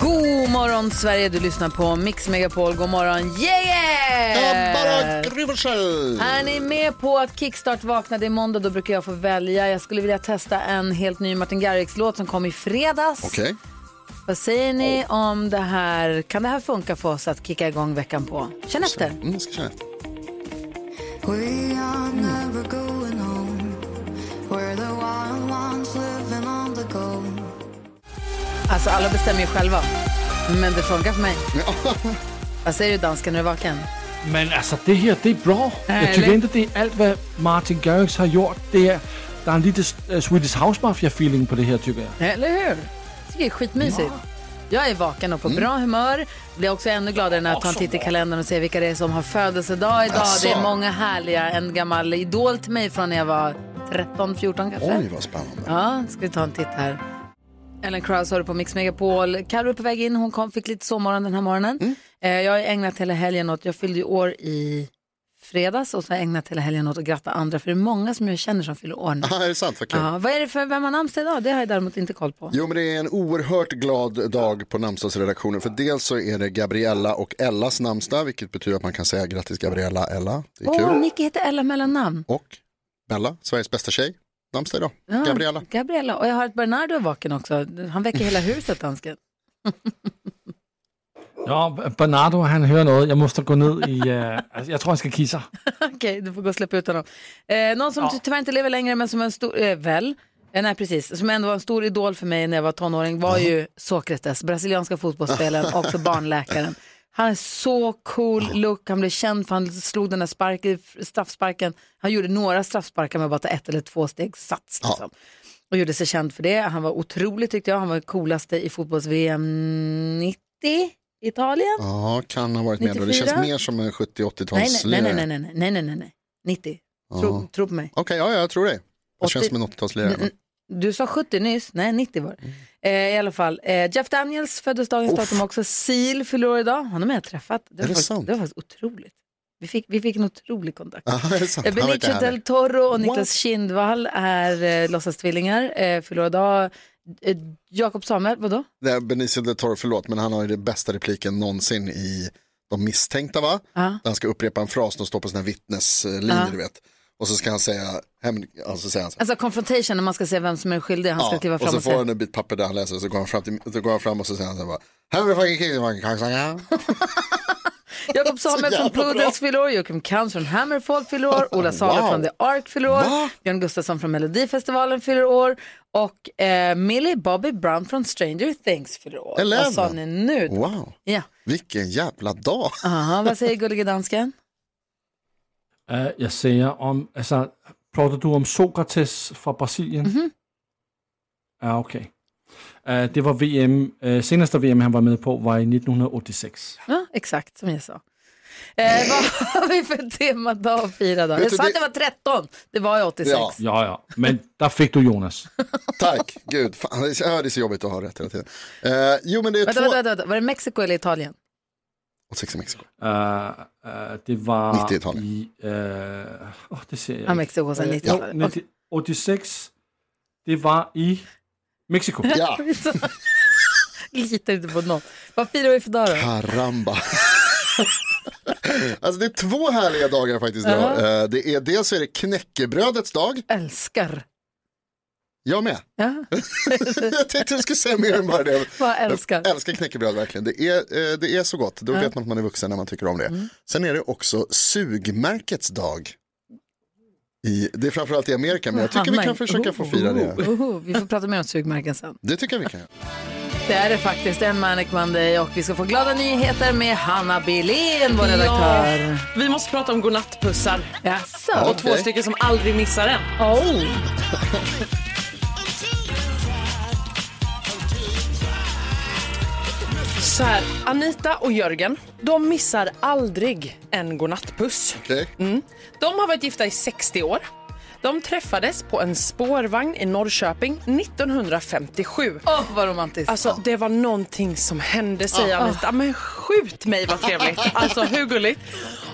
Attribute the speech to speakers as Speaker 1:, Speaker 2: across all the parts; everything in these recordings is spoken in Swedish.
Speaker 1: God morgon Sverige, du lyssnar på Mix Megapol. God morgon gänget! Är ni med på att Kickstart vaknade i måndag? Då brukar jag få välja. Jag skulle vilja testa en helt ny Martin Garrix-låt som kom i fredags.
Speaker 2: Okej.
Speaker 1: Vad säger ni om det här? Kan det här funka för oss att kicka igång veckan på? Känn efter.
Speaker 2: Mm, jag ska känna efter.
Speaker 3: We are never going home. We're the wild ones living on the go.
Speaker 1: Alltså alla bestämmer ju själva. Men det funkar för mig.
Speaker 2: Ja.
Speaker 1: Vad säger du dansken, är du vaken?
Speaker 4: Men altså, det her, det er bra.
Speaker 1: Ærligt.
Speaker 4: Jeg tycker ikke, det er alt, hvad Martin Garrix har gjort. Det er, der er en lille øh, Swedish House Mafia-feeling på det her, tycker jeg.
Speaker 1: Eller hur? Jag tycker det är skitmysigt. Jag är vaken och på
Speaker 2: Mm.
Speaker 1: bra humör. Blir också ännu gladare när jag tar en titt i kalendern och ser vilka det är som har födelsedag idag.
Speaker 2: Asså.
Speaker 1: Det är många härliga. En gammal idol till mig från när jag var 13, 14 kanske.
Speaker 2: Oj, vad spännande.
Speaker 1: Ja, ska vi ta en titt här. Ellen Krauss har du på Mix Megapol. Carro är på väg in. Hon kom, fick lite sovmorgon den här morgonen.
Speaker 2: Mm.
Speaker 1: Eh, jag har ägnat hela helgen åt, jag fyllde ju år i fredags och så har jag ägnat hela helgen åt att gratta andra. För det är många som jag känner som fyller år nu.
Speaker 2: Ja, Ah, är det sant? Vad kul.
Speaker 1: Ja, vad är det för, vem har namnsdag idag? Det har jag däremot inte koll på.
Speaker 2: Jo, men det är en oerhört glad dag på namnsdagsredaktionen. För dels så är det Gabriella och Ellas namnsdag, vilket betyder att man kan säga grattis Gabriella, Ella. Det är
Speaker 1: Åh,
Speaker 2: kul.
Speaker 1: Nicky heter Ella mellannamn.
Speaker 2: Och Bella, Sveriges bästa tjej, namnsdag idag.
Speaker 1: Ja,
Speaker 2: Gabriella.
Speaker 1: Gabriella. Och jag har ett Bernardo är vaken också. Han väcker hela huset, dansken.
Speaker 4: Ja, Bernardo, han hører noget. Jeg måste gå ned i... Øh, altså, jeg tror, han skal kisse sig.
Speaker 1: Okej, du får gå och släppa ut honom. Eh, någon som ty- tyvärr inte lever längre, men som är en stor, eh, väl, eh, nej precis, som ändå var en stor idol för mig när jag var tonåring var ju Sokrates, brasilianska fotbollsspelaren och också barnläkaren. Han är så cool look, han blev känd för han slog den där sparken, straffsparken. Han gjorde några straffsparkar med bara att ta ett eller två steg sats. Liksom. Och gjorde sig känd för det. Han var otrolig tyckte jag, han var coolaste i fotbolls-VM 90, Italien.
Speaker 2: Ja, kan ha varit med då. Det
Speaker 1: 94.
Speaker 2: känns mer som en
Speaker 1: Nej,
Speaker 2: 70-80-talslirare.
Speaker 1: nej, nej, nej, nej, nej, nej, nej, nej, nej, 90. Tro,
Speaker 2: Ja.
Speaker 1: tro på mig.
Speaker 2: Okej, ja, ja, jag tror det. Det
Speaker 1: 80.
Speaker 2: känns som en 80-talslirare.
Speaker 1: Du sa 70 nyss, nej 90 var det. eh, I alla fall, eh, Jeff Daniels föddes dagens
Speaker 2: Uff.
Speaker 1: datum också. Seal fyller år idag, honom har jag träffat. Det var,
Speaker 2: Är det
Speaker 1: faktiskt,
Speaker 2: sant?
Speaker 1: var faktiskt otroligt. Vi fick, vi fick en otrolig kontakt.
Speaker 2: Ja, det är sant.
Speaker 1: Eh,
Speaker 2: Han verkar
Speaker 1: Benicio del
Speaker 2: härlig.
Speaker 1: Toro och Niklas Kindvall är eh, låtsastvillingar, eh, fyller år idag. Eh, Jakob Samuel, vadå?
Speaker 2: Det är Benicio del Toro, förlåt, men han har ju den bästa repliken någonsin i De misstänkta, va?
Speaker 1: Ja.
Speaker 2: Där han ska upprepa en fras när står på sina vittneslinjer,
Speaker 1: Ja.
Speaker 2: du vet. Och så ska han säga, hem, alltså säger han så här,
Speaker 1: Alltså confrontation, när man ska se vem som är skyldig, han ska
Speaker 2: ja,
Speaker 1: kliva
Speaker 2: och
Speaker 1: fram
Speaker 2: så
Speaker 1: och
Speaker 2: får
Speaker 1: säga.
Speaker 2: han en bit papper där han läser, så går han fram, till, så går han fram och så säger han så här bara, "Have a fucking kick, man kan säga."
Speaker 1: Jakob Samuel
Speaker 2: Så
Speaker 1: från
Speaker 2: jävla bra. Ah,
Speaker 1: Poodles fyller år, Joakim Kantz från Hammerfall fyller år, Ola Salo
Speaker 2: Wow.
Speaker 1: från The Ark fyller år,
Speaker 2: Va?
Speaker 1: Björn Gustafsson från Melodifestivalen fyller år och eh, Millie Bobby Brown från Stranger Things fyller år.
Speaker 2: Eleven.
Speaker 1: Vad sa ni nu? då?
Speaker 2: Wow,
Speaker 1: Ja.
Speaker 2: vilken jävla dag.
Speaker 1: Aha, vad säger gullige dansken?
Speaker 4: Øh, jeg siger om... Altså, plotter du om Sokrates fra Brasilien? Mm-hmm. Ja, okay. Øh, det var VM. Øh, seneste VM, han var med på, var i 1986.
Speaker 1: Ja, exakt som jag sa. Eh, vad har vi för temadag att fira då?
Speaker 2: Vet
Speaker 1: Jag
Speaker 2: du,
Speaker 1: sa att
Speaker 2: det-
Speaker 1: jag var 13, det var jag 86.
Speaker 2: Ja.
Speaker 4: Ja, ja. Men der fik du Jonas.
Speaker 2: Tack, gud, fan, det är ja, det är så jobbigt att ha rätt hela tiden. Eh, jo, men det är
Speaker 1: Vänta,
Speaker 2: två...
Speaker 1: vänta, vänta, vänta, var det Mexiko eller Italien?
Speaker 2: 86 i Mexiko.
Speaker 4: Øh, øh, det var
Speaker 2: 90-tallet.
Speaker 4: i... Øh, åh, det ser Eh, jeg
Speaker 1: Ja,
Speaker 4: ikke.
Speaker 1: Mexiko sen
Speaker 4: Jo,
Speaker 1: 90-talet.
Speaker 4: 19- 86, det var i Mexiko.
Speaker 2: Ja,
Speaker 1: Litar inte på någon. Vad firar vi för dag då?
Speaker 2: Karamba. alltså det är två härliga dagar faktiskt. idag. Eh, Det är, dels är det knäckebrödets dag,
Speaker 1: Älskar.
Speaker 2: jag med.
Speaker 1: Ja,
Speaker 2: jag tänkte jag skulle säga mer än bara det.
Speaker 1: vad jag älskar.
Speaker 2: Jag älskar knäckebröd verkligen. Det är, eh, det är så gott, då vet man att man är vuxen när man tycker om det.
Speaker 1: Mm.
Speaker 2: Sen är det också sugmärkets dag. I, det är framförallt i Amerika, men jag tycker vi
Speaker 1: Hanna,
Speaker 2: kan försöka
Speaker 1: Oh,
Speaker 2: få fira det.
Speaker 1: Oho, vi får prata mer om sugmärken sen.
Speaker 2: Det tycker jag vi kan göra.
Speaker 1: Det är det faktiskt, en Manic Monday och vi ska få glada nyheter med Hanna Billén, vår redaktör.
Speaker 5: Vi måste prata om godnattpussar.
Speaker 1: Jaså?
Speaker 2: Ja.
Speaker 5: Och två
Speaker 2: Okej.
Speaker 5: stycken som aldrig missar en.
Speaker 1: Oh.
Speaker 5: Så här, Anita och Jörgen, de missar aldrig en godnattpuss. Mm.
Speaker 2: Okej.
Speaker 5: De har varit gifta i 60 år. De träffades på en spårvagn i Norrköping 1957.
Speaker 1: Åh, vad romantiskt.
Speaker 5: Alltså det var någonting som hände säger Anita. Men skjut mig vad trevligt. Alltså hur gulligt.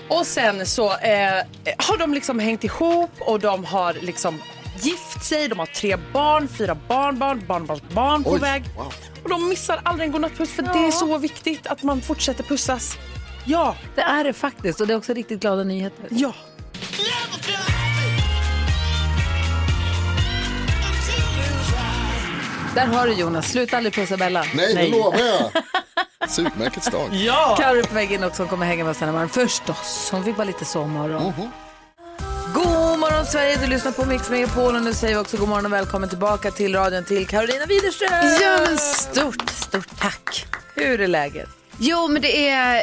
Speaker 5: Och sen så eh, har de liksom hängt ihop och de har liksom gift sig. De har tre barn, fyra barnbarn, barnbarnsbarn på
Speaker 2: Oj,
Speaker 5: väg.
Speaker 2: wow.
Speaker 5: Och de missar aldrig en godnattpuss för det är så viktigt att man fortsätter pussas. Ja,
Speaker 1: det är det faktiskt och det är också riktigt glada nyheter.
Speaker 5: ja.
Speaker 1: Där har du Jonas, sluta aldrig pussa Bella.
Speaker 2: Nej, det lovar jag. Sugmärkets dag.
Speaker 1: Carro på väg in också, hon kommer hänga med oss den här morgonen. Förstås, hon vill bara lite sovmorgon. God morgon Sverige, du lyssnar på Mix Megapol och nu säger vi också god morgon och välkommen tillbaka till radion till Carolina Widerström.
Speaker 6: Ja, men stort, stort tack.
Speaker 1: Hur är läget?
Speaker 6: Jo, men det är,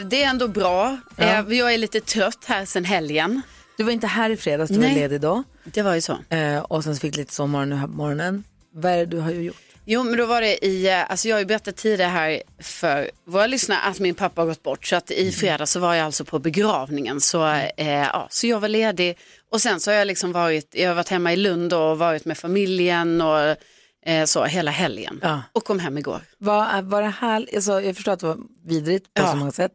Speaker 6: eh, det är ändå bra. Eh, jag är lite trött här sen helgen.
Speaker 1: Du var inte här i fredags, du var
Speaker 6: Nej.
Speaker 1: ledig då.
Speaker 6: Det var ju så.
Speaker 1: Eh, och sen så fick du lite sovmorgon nu här på morgonen. Vad är det du har ju gjort?
Speaker 6: Jo, men då var det i, eh, alltså jag har ju berättat tidigare här för våra lyssnare att min pappa har gått bort. Så att
Speaker 1: Mm.
Speaker 6: i fredags så var jag alltså på begravningen. Så, eh, ja, så jag var ledig. Och sen så har jag liksom varit, jag har varit hemma i Lund och varit med familjen och eh, så hela helgen.
Speaker 1: Ja.
Speaker 6: Och kom hem igår.
Speaker 1: Vad var det här? Alltså, jag förstår att det var vidrigt på
Speaker 6: Ja.
Speaker 1: så många sätt.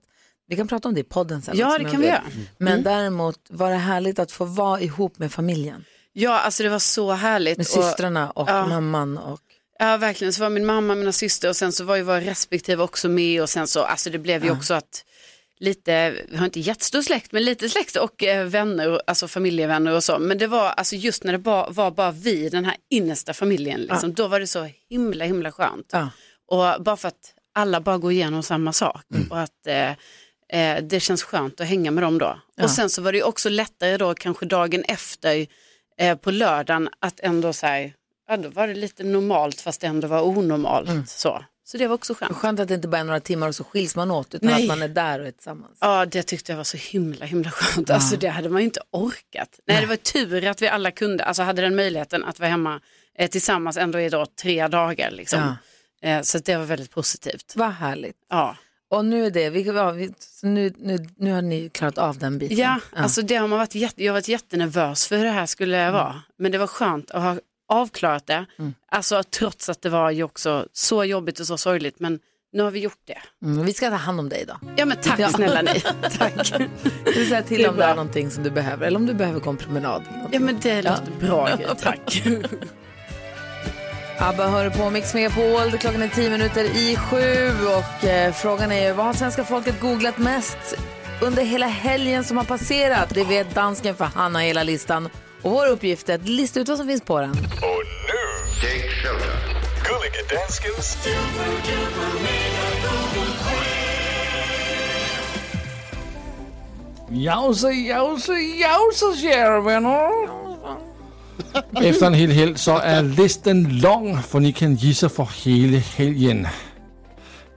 Speaker 1: Vi kan prata om det i podden sen.
Speaker 6: Ja,
Speaker 1: också,
Speaker 6: det
Speaker 1: men
Speaker 6: kan vi
Speaker 1: jag-
Speaker 6: göra. Mm.
Speaker 1: Men däremot, var det härligt att få vara ihop med familjen?
Speaker 6: Ja, alltså det var så härligt.
Speaker 1: Med
Speaker 6: Och-
Speaker 1: systrarna och
Speaker 6: ja.
Speaker 1: mamman och...
Speaker 6: Ja, verkligen. Så var min mamma, mina syster och sen så var ju våra respektive också med och sen så, alltså det blev ju också att lite, vi har inte jättestor släkt, men lite släkt och eh, vänner, och- alltså familjevänner och så. Men det var, alltså just när det bara, var bara vi, den här innersta familjen, liksom, då var det så himla, himla skönt.
Speaker 1: Ja.
Speaker 6: Och bara för att alla bara går igenom samma sak och att eh, eh, det känns skönt att hänga med dem då. Och sen så var det ju också lättare då kanske dagen efter eh, på lördagen att ändå så här, ja då var det lite normalt fast det ändå var onormalt
Speaker 1: Mm.
Speaker 6: så. Så det var också skönt.
Speaker 1: Skönt att det inte bara är några timmar och så skiljs man åt, utan
Speaker 6: Nej.
Speaker 1: att man är där och är tillsammans.
Speaker 6: Ja, det tyckte jag var så himla, himla skönt. Alltså det hade man ju inte orkat.
Speaker 1: Mm.
Speaker 6: Nej, det var tur att vi alla kunde, alltså hade den möjligheten att vara hemma eh, tillsammans ändå i då tre dagar liksom. Eh, så att det var väldigt positivt.
Speaker 1: Vad härligt.
Speaker 6: Ja.
Speaker 1: Och nu är det, vi, ja, vi, så nu, nu, nu har ni klarat av den biten.
Speaker 6: Ja, alltså det har man varit jätte, jag har varit jättenervös för hur det här skulle
Speaker 1: Mm.
Speaker 6: vara. Men det var skönt att ha avklarat det. Alltså trots att det var ju också så jobbigt och så sorgligt. Men nu har vi gjort det.
Speaker 1: Mm, vi ska ta hand om dig då.
Speaker 6: Ja men tack
Speaker 1: Ja.
Speaker 6: snälla ni. Tack.
Speaker 1: Du säger
Speaker 6: Det
Speaker 1: till
Speaker 6: är
Speaker 1: om det är
Speaker 6: bra.
Speaker 1: någonting som du behöver, eller om du behöver gå en promenad. eller någonting.
Speaker 6: Ja men det låter bra Gry, tack.
Speaker 1: Abba hör på Mix Megapol, klockan är tio minuter i sju och eh, frågan är ju vad har svenska folket googlat mest under hela helgen som har passerat? Det vet dansken för han har hela listan. Och vår uppgift är att lista ut vad som finns på den.
Speaker 7: Och nu, Jake Shelton. Gullige danskens...
Speaker 4: Jause, jause, jause, kära vänner. Efter en hel helg så är listan lång för ni kan gissa för hela helgen.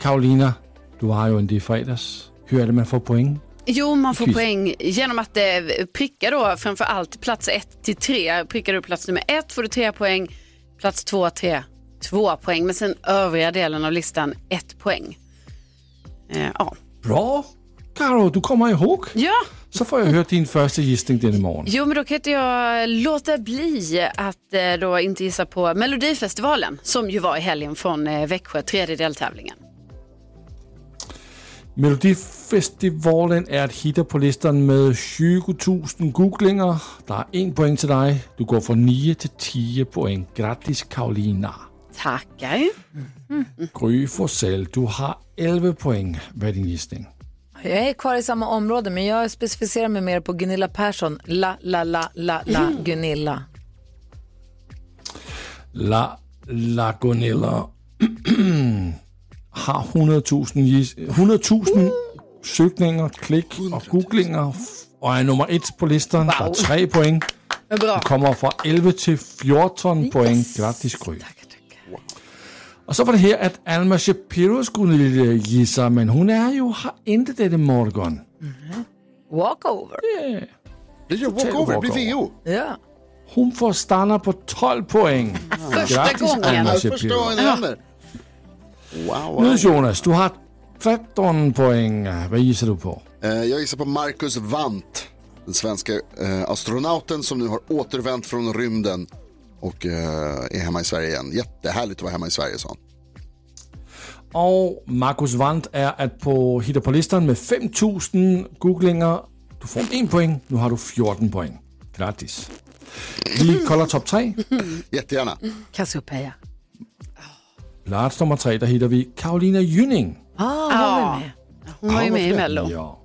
Speaker 4: Karolina, du har ju en del fredags. Hur är det man får poäng?
Speaker 6: Jo, man får
Speaker 4: Precis.
Speaker 6: poäng genom att eh, pricka då framför allt plats 1 till 3. Prickar du plats nummer 1 får du 3 poäng, plats 2 3 2 poäng, men sen övriga delen av listan 1 poäng. Eh, ja.
Speaker 4: Bra! Karo, du kommer ihåg.
Speaker 6: ja,
Speaker 4: Så får jag höra din första gissning denna morgon.
Speaker 6: jo men då kan inte jag låta bli att eh, då inte gissa på Melodifestivalen som ju var i helgen från eh, Växjö, tredje deltävlingen.
Speaker 4: Melodifestivalen är ett hitta på listan med 20 000 googlinger. Der er en poäng till dig. Du går från 9 till 10 poäng. Grattis Karolina.
Speaker 6: Tackar. Mm.
Speaker 4: Gry Forssell, du har 11 poäng. Vad är din gissning?
Speaker 1: Jag är kvar i samma område men jag specificerar mig mer på Gunilla Persson. La, la, la, la, la, Gunilla.
Speaker 4: La Lagunilla har 100 000, gis- 100 000 sökningar, klick och googlinger f- och är nummer ett på listan. Der er 3 poäng.
Speaker 6: Bra.
Speaker 4: Du kommer fra 11 till 14 poäng. Grattis Gry. Och så var det här att Alma Shapiro skulle lille gissa, men hon är ju, har inte denne morgon.
Speaker 1: Walkover.
Speaker 2: Det gör walkover, det blir VO.
Speaker 1: Ja.
Speaker 4: Hon får stanna på 12 poäng.
Speaker 6: Första
Speaker 4: Grattis
Speaker 6: gången.
Speaker 4: Alma
Speaker 2: Jag förstår
Speaker 4: Shapiro.
Speaker 2: vad som händer. Wow,
Speaker 4: Nu
Speaker 2: wow.
Speaker 4: Jonas, du har 13 poäng. Vad gissar du på?
Speaker 2: Eh, Jag gissar på Marcus Wandt, den svenska eh, astronauten som nu har återvänt från rymden och eh, är hemma i Sverige igen. Jättehärligt att vara hemma i Sverige, sa han.
Speaker 4: Og Markus Vandt er at på hitter på listeren med 5.000 googlinger. Du får 1 point. Nu har du 14 point. Gratis. Vi kolder top 3.
Speaker 2: Jättegärna.
Speaker 1: Cassiopeia.
Speaker 4: Plats nummer 3, der hitter vi Karolina Jynning.
Speaker 1: Ah, hon var med.
Speaker 6: Hon var ju med i Mello.
Speaker 4: Ja.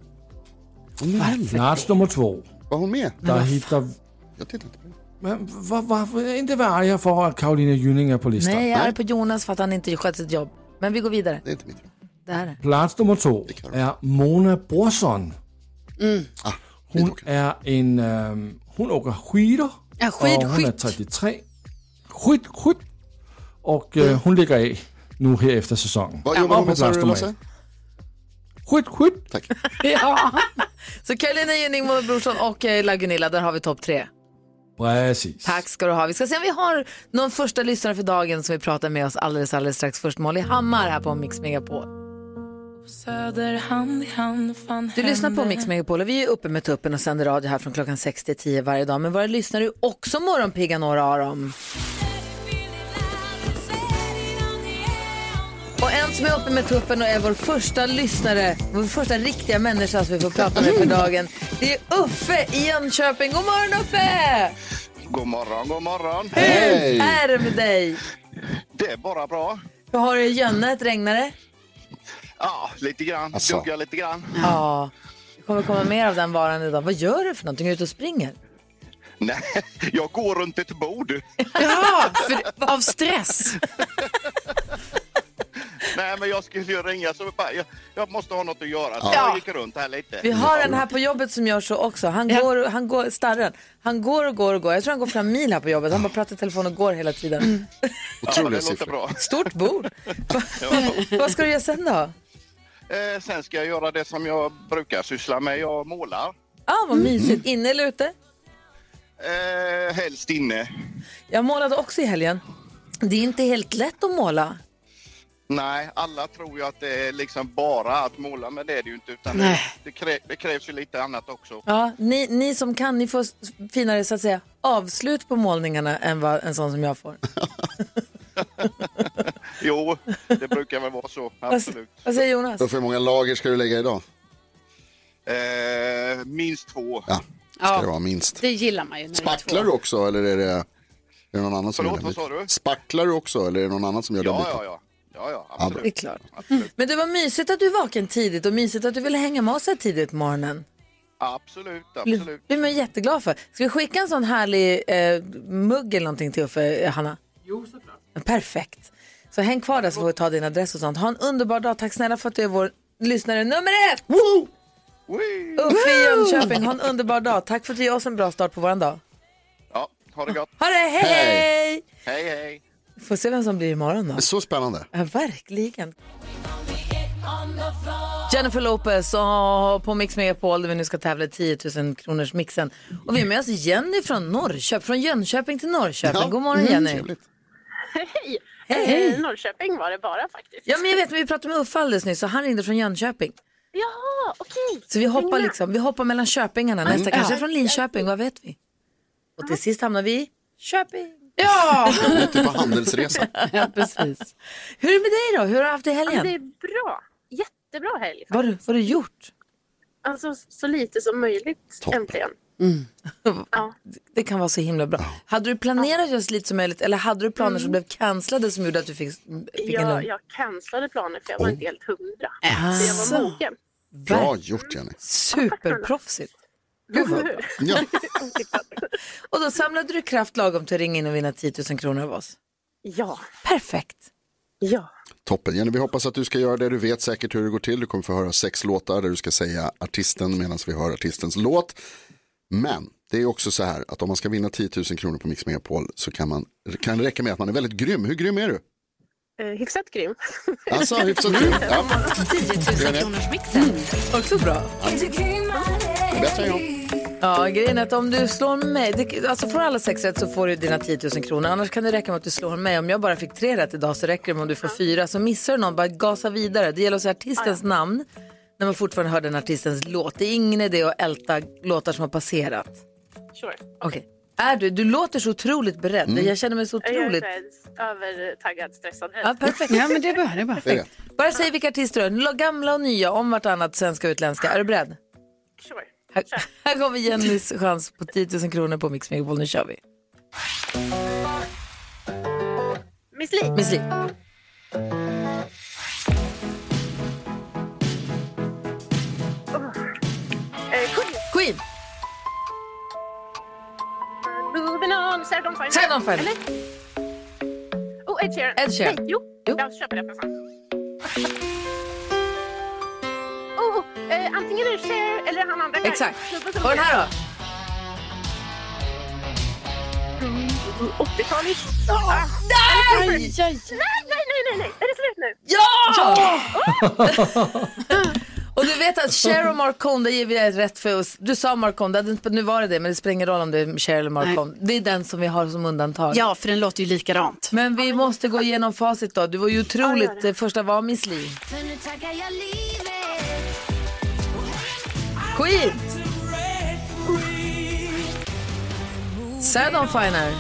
Speaker 4: Plats nummer 2,
Speaker 2: Var hon med?
Speaker 4: der hitter...
Speaker 2: Jag tittar inte på det.
Speaker 4: Men varför inte vara arga för att Karolina Jynning är på listan?
Speaker 1: Nej, jag är arg på Jonas för att han inte sköt sitt jobb. Men vi går vidare.
Speaker 2: Det är inte mitt.
Speaker 1: Det här är.
Speaker 4: Plats nummer två är Mona
Speaker 2: Mm.
Speaker 4: Brorsson.
Speaker 2: Ah,
Speaker 4: Hon är en... øhm, hon åker skidor.
Speaker 6: Ja, skid-
Speaker 4: och hon är
Speaker 6: skytt.
Speaker 4: 33. Skit, skit. Och øh, hon ligger av nu här efter säsongen.
Speaker 2: Vad jobbar
Speaker 4: Och
Speaker 2: hon
Speaker 4: på
Speaker 2: med,
Speaker 4: plats
Speaker 2: sa Mm. du,
Speaker 4: nummer
Speaker 2: Lasse?
Speaker 4: ett. Skit, skit.
Speaker 2: Tack.
Speaker 1: Ja. Så Karolina Gynning, Mona Brorsson och Laila Gunilla, där har vi topp tre.
Speaker 4: Precis.
Speaker 1: Tack ska du ha. Vi ska se om vi har någon första lyssnare för dagen som vi pratar med oss alldeles, alldeles strax. Först Molly Hammar här på Mix Megapol. Du lyssnar på Mix Megapol och vi är uppe med tuppen och sänder radio här från klockan 6 till 10 varje dag. Men våra lyssnare är också morgonpigga några av dem. Och en som är uppe med tuppen och är vår första lyssnare, vår första riktiga människa som vi får prata med för dagen, det är Uffe i Jönköping. God morgon Uffe!
Speaker 7: God morgon, god morgon.
Speaker 1: Hur är det med dig?
Speaker 7: Det är bara bra.
Speaker 1: Vad har du i Jönnet? Regnar det?
Speaker 7: Ja, lite grann.
Speaker 2: Asså.
Speaker 7: Duggar lite grann.
Speaker 1: Ja. Det kommer komma mer av den varan idag. Vad gör du för någonting? Är du ute och springer?
Speaker 7: Nej, jag går runt ett bord.
Speaker 6: Ja, för, av stress.
Speaker 7: Nej, men jag skulle ju ringa så bara, jag, jag måste ha något att göra. Så
Speaker 2: Ja.
Speaker 7: jag gick runt här lite.
Speaker 1: Vi har en här på jobbet som gör så också. Han går, och- han går, starren. Han går och går och går. Jag tror han går fram mil här på jobbet. Han bara pratar i telefon och går hela tiden.
Speaker 7: ja, men
Speaker 2: Otroliga
Speaker 7: det låter
Speaker 2: siffror.
Speaker 7: bra.
Speaker 1: Stort bord. Va-
Speaker 7: Ja.
Speaker 1: Vad ska du göra sen då?
Speaker 7: Eh, sen ska jag göra det som jag brukar syssla med. Jag målar.
Speaker 1: Ah, vad mysigt. Inne eller ute?
Speaker 7: Eh, helst inne.
Speaker 1: Jag målade också i helgen. Det är inte helt lätt att måla.
Speaker 7: Nej, alla tror ju att det är liksom bara att måla, men det är det ju inte. Utan det,
Speaker 6: Nej.
Speaker 7: det, krä, det krävs ju lite annat också.
Speaker 1: Ja, ni, ni som kan, ni får s- finare så att säga avslut på målningarna än vad en sån som jag får.
Speaker 7: Jo, det brukar väl vara så,
Speaker 1: Vad,
Speaker 7: absolut.
Speaker 1: vad säger Jonas?
Speaker 2: Hur många lager ska du lägga idag?
Speaker 7: Eh, minst två.
Speaker 2: Ja, ska det
Speaker 6: Ja,
Speaker 2: vara minst.
Speaker 6: det gillar man ju. När det är två.
Speaker 2: Spacklar du också eller är det, är det någon annan som
Speaker 7: Förlåt,
Speaker 2: gör
Speaker 7: vad
Speaker 2: den
Speaker 7: sa du?
Speaker 2: biten? Spacklar du också eller är det någon annan som gör den
Speaker 7: Ja,
Speaker 2: biten?
Speaker 7: ja, ja. Ja, ja,
Speaker 1: Det är
Speaker 7: absolut.
Speaker 1: klart.
Speaker 7: Absolut.
Speaker 1: Men det var mysigt att du vaken tidigt och mysigt att du ville hänga med oss här tidigt på morgonen.
Speaker 7: Absolut,
Speaker 1: Det
Speaker 7: absolut.
Speaker 1: blir man jätteglad för. Ska vi skicka en sån härlig eh, mugg eller någonting till Uffe, eh, Hanna? Jo, såklart. Perfekt. Så häng kvar där så får vi ta din adress och sånt. Ha en underbar dag. Tack snälla för att du är vår lyssnare nummer ett!
Speaker 7: Wee!
Speaker 1: Uffe i Jönköping, ha en underbar dag. Tack för att du ger oss en bra start på våran dag.
Speaker 7: Ja, ha det gott.
Speaker 1: Ha det, hej! hej!
Speaker 7: Hej, hej.
Speaker 1: Får se vem som blir imorgon då.
Speaker 2: Så spännande.
Speaker 1: Ja, verkligen. Jennifer Lopez och på Mix Megapol där vi nu ska tävla i 10 000 kronors mixen. Och vi är med oss Jenny från Norrköping, från Jönköping till Norrköping. God morgon
Speaker 2: Mm,
Speaker 1: Jenny. Hej. Hej.
Speaker 8: Eh, Norrköping var det bara faktiskt.
Speaker 1: Ja men jag vet, men vi pratade med Uffe alldeles nyss och han ringde från Jönköping.
Speaker 8: Jaha, okej.
Speaker 1: Så vi hoppar liksom, vi hoppar mellan köpingarna. Nästa kanske är från Linköping, vad vet vi? Och till sist hamnar vi i Köping.
Speaker 6: Ja,
Speaker 2: Ute typ på handelsresa.
Speaker 1: Ja, precis. Hur är det med dig då? Hur har du haft det i
Speaker 8: Ja, men det
Speaker 1: helgen?
Speaker 8: är bra. Jättebra helg.
Speaker 1: Vad har du, vad har du gjort?
Speaker 8: Alltså så lite som möjligt äntligen. Mm. Ja.
Speaker 1: Det kan vara så himla bra. Hade du planerat just lite som möjligt eller hade du planer
Speaker 8: Mm.
Speaker 1: som blev cancellade som gjorde att du fick, fick en
Speaker 8: Jag,
Speaker 1: lugn?
Speaker 8: jag cancellade planer för jag var
Speaker 2: Oh.
Speaker 8: inte helt hundra. Så jag var mogen.
Speaker 2: Bra gjort Jenny.
Speaker 1: Superproffsigt. Gud vad bra.
Speaker 2: Ja.
Speaker 1: Och då samlade du kraft lagom till att ringa in och vinna 10 000 kronor av oss.
Speaker 8: Ja,
Speaker 1: Perfekt.
Speaker 8: ja.
Speaker 2: Toppen Jenny, vi hoppas att du ska göra det. Du vet säkert hur det går till. Du kommer få höra sex låtar där du ska säga artisten medan vi hör artistens låt. Men det är också så här att om man ska vinna 10 000 kronor på Mix Megapol så kan, man, kan det räcka med att man är väldigt grym. Hur grym är du?
Speaker 8: Eh, hyfsat grym. Mm.
Speaker 2: Alltså hyfsat grym. Ja, Mm.
Speaker 6: 10 000 kronors mixen.
Speaker 1: Också bra.
Speaker 2: bättre än jag.
Speaker 1: Ja, grejen är att om du slår mig, det, alltså får alla sex rätt så får du dina 10 000 kronor. Annars kan det räcka med att du slår mig. Om jag bara fick tre rätt idag så räcker det med om du får fyra. Så missar du någon, bara gasa vidare. Det gäller att säga artistens namn när man fortfarande hör den artistens låt. Det är ingen idé att älta låtar som har passerat.
Speaker 8: Sure.
Speaker 1: Okej. Är du? Du låter så otroligt beredd.
Speaker 8: Mm.
Speaker 1: Jag känner mig så otroligt...
Speaker 8: Jag är så här övertaggad, stressad.
Speaker 1: Ja, perfekt. Ja, men det är bra. Det är bra.
Speaker 8: Perfekt.
Speaker 1: Bara säg vilka artister du är. Gamla och nya, om vartannat, svenska och utländska. Är du beredd?
Speaker 8: Sure.
Speaker 1: Här, här kommer Jennys chans på 10 000 kronor på Mix Megapol. Nu kör vi.
Speaker 8: Miss Li.
Speaker 1: Miss Li.
Speaker 8: Eh, Queen.
Speaker 1: Queen.
Speaker 8: Moving on, Sarah Dawn Finer.
Speaker 1: Sarah Dawn Finer.
Speaker 8: Eller? Oh, Ed Sheeran.
Speaker 1: Ed Sheeran.
Speaker 8: Nej, jo. Jag köper det för fan. Oh, oh, eh, antingen är det Cher eller han andra. killen.
Speaker 1: Exakt.
Speaker 8: Snubben som
Speaker 1: Och den här då?
Speaker 8: 80-talet.
Speaker 1: Ah.
Speaker 8: Nej!
Speaker 1: Nej,
Speaker 8: nej, nej, nej, nej. Är det slut nu?
Speaker 1: Ja! Och du vet att Cher och Marcon, det ger vi dig rätt för. oss. Du sa Marcon, det hade inte- nu var det det, men det spelar ingen roll om det är Cher eller Marcon. Det är den som vi har som undantag.
Speaker 6: Ja, för den låter ju likadant.
Speaker 1: Men vi måste gå igenom facit då. Du var ju otroligt, det första var Miss Li.
Speaker 3: För nu tackar jag livet
Speaker 1: Queen! Sarah Dawn Finer.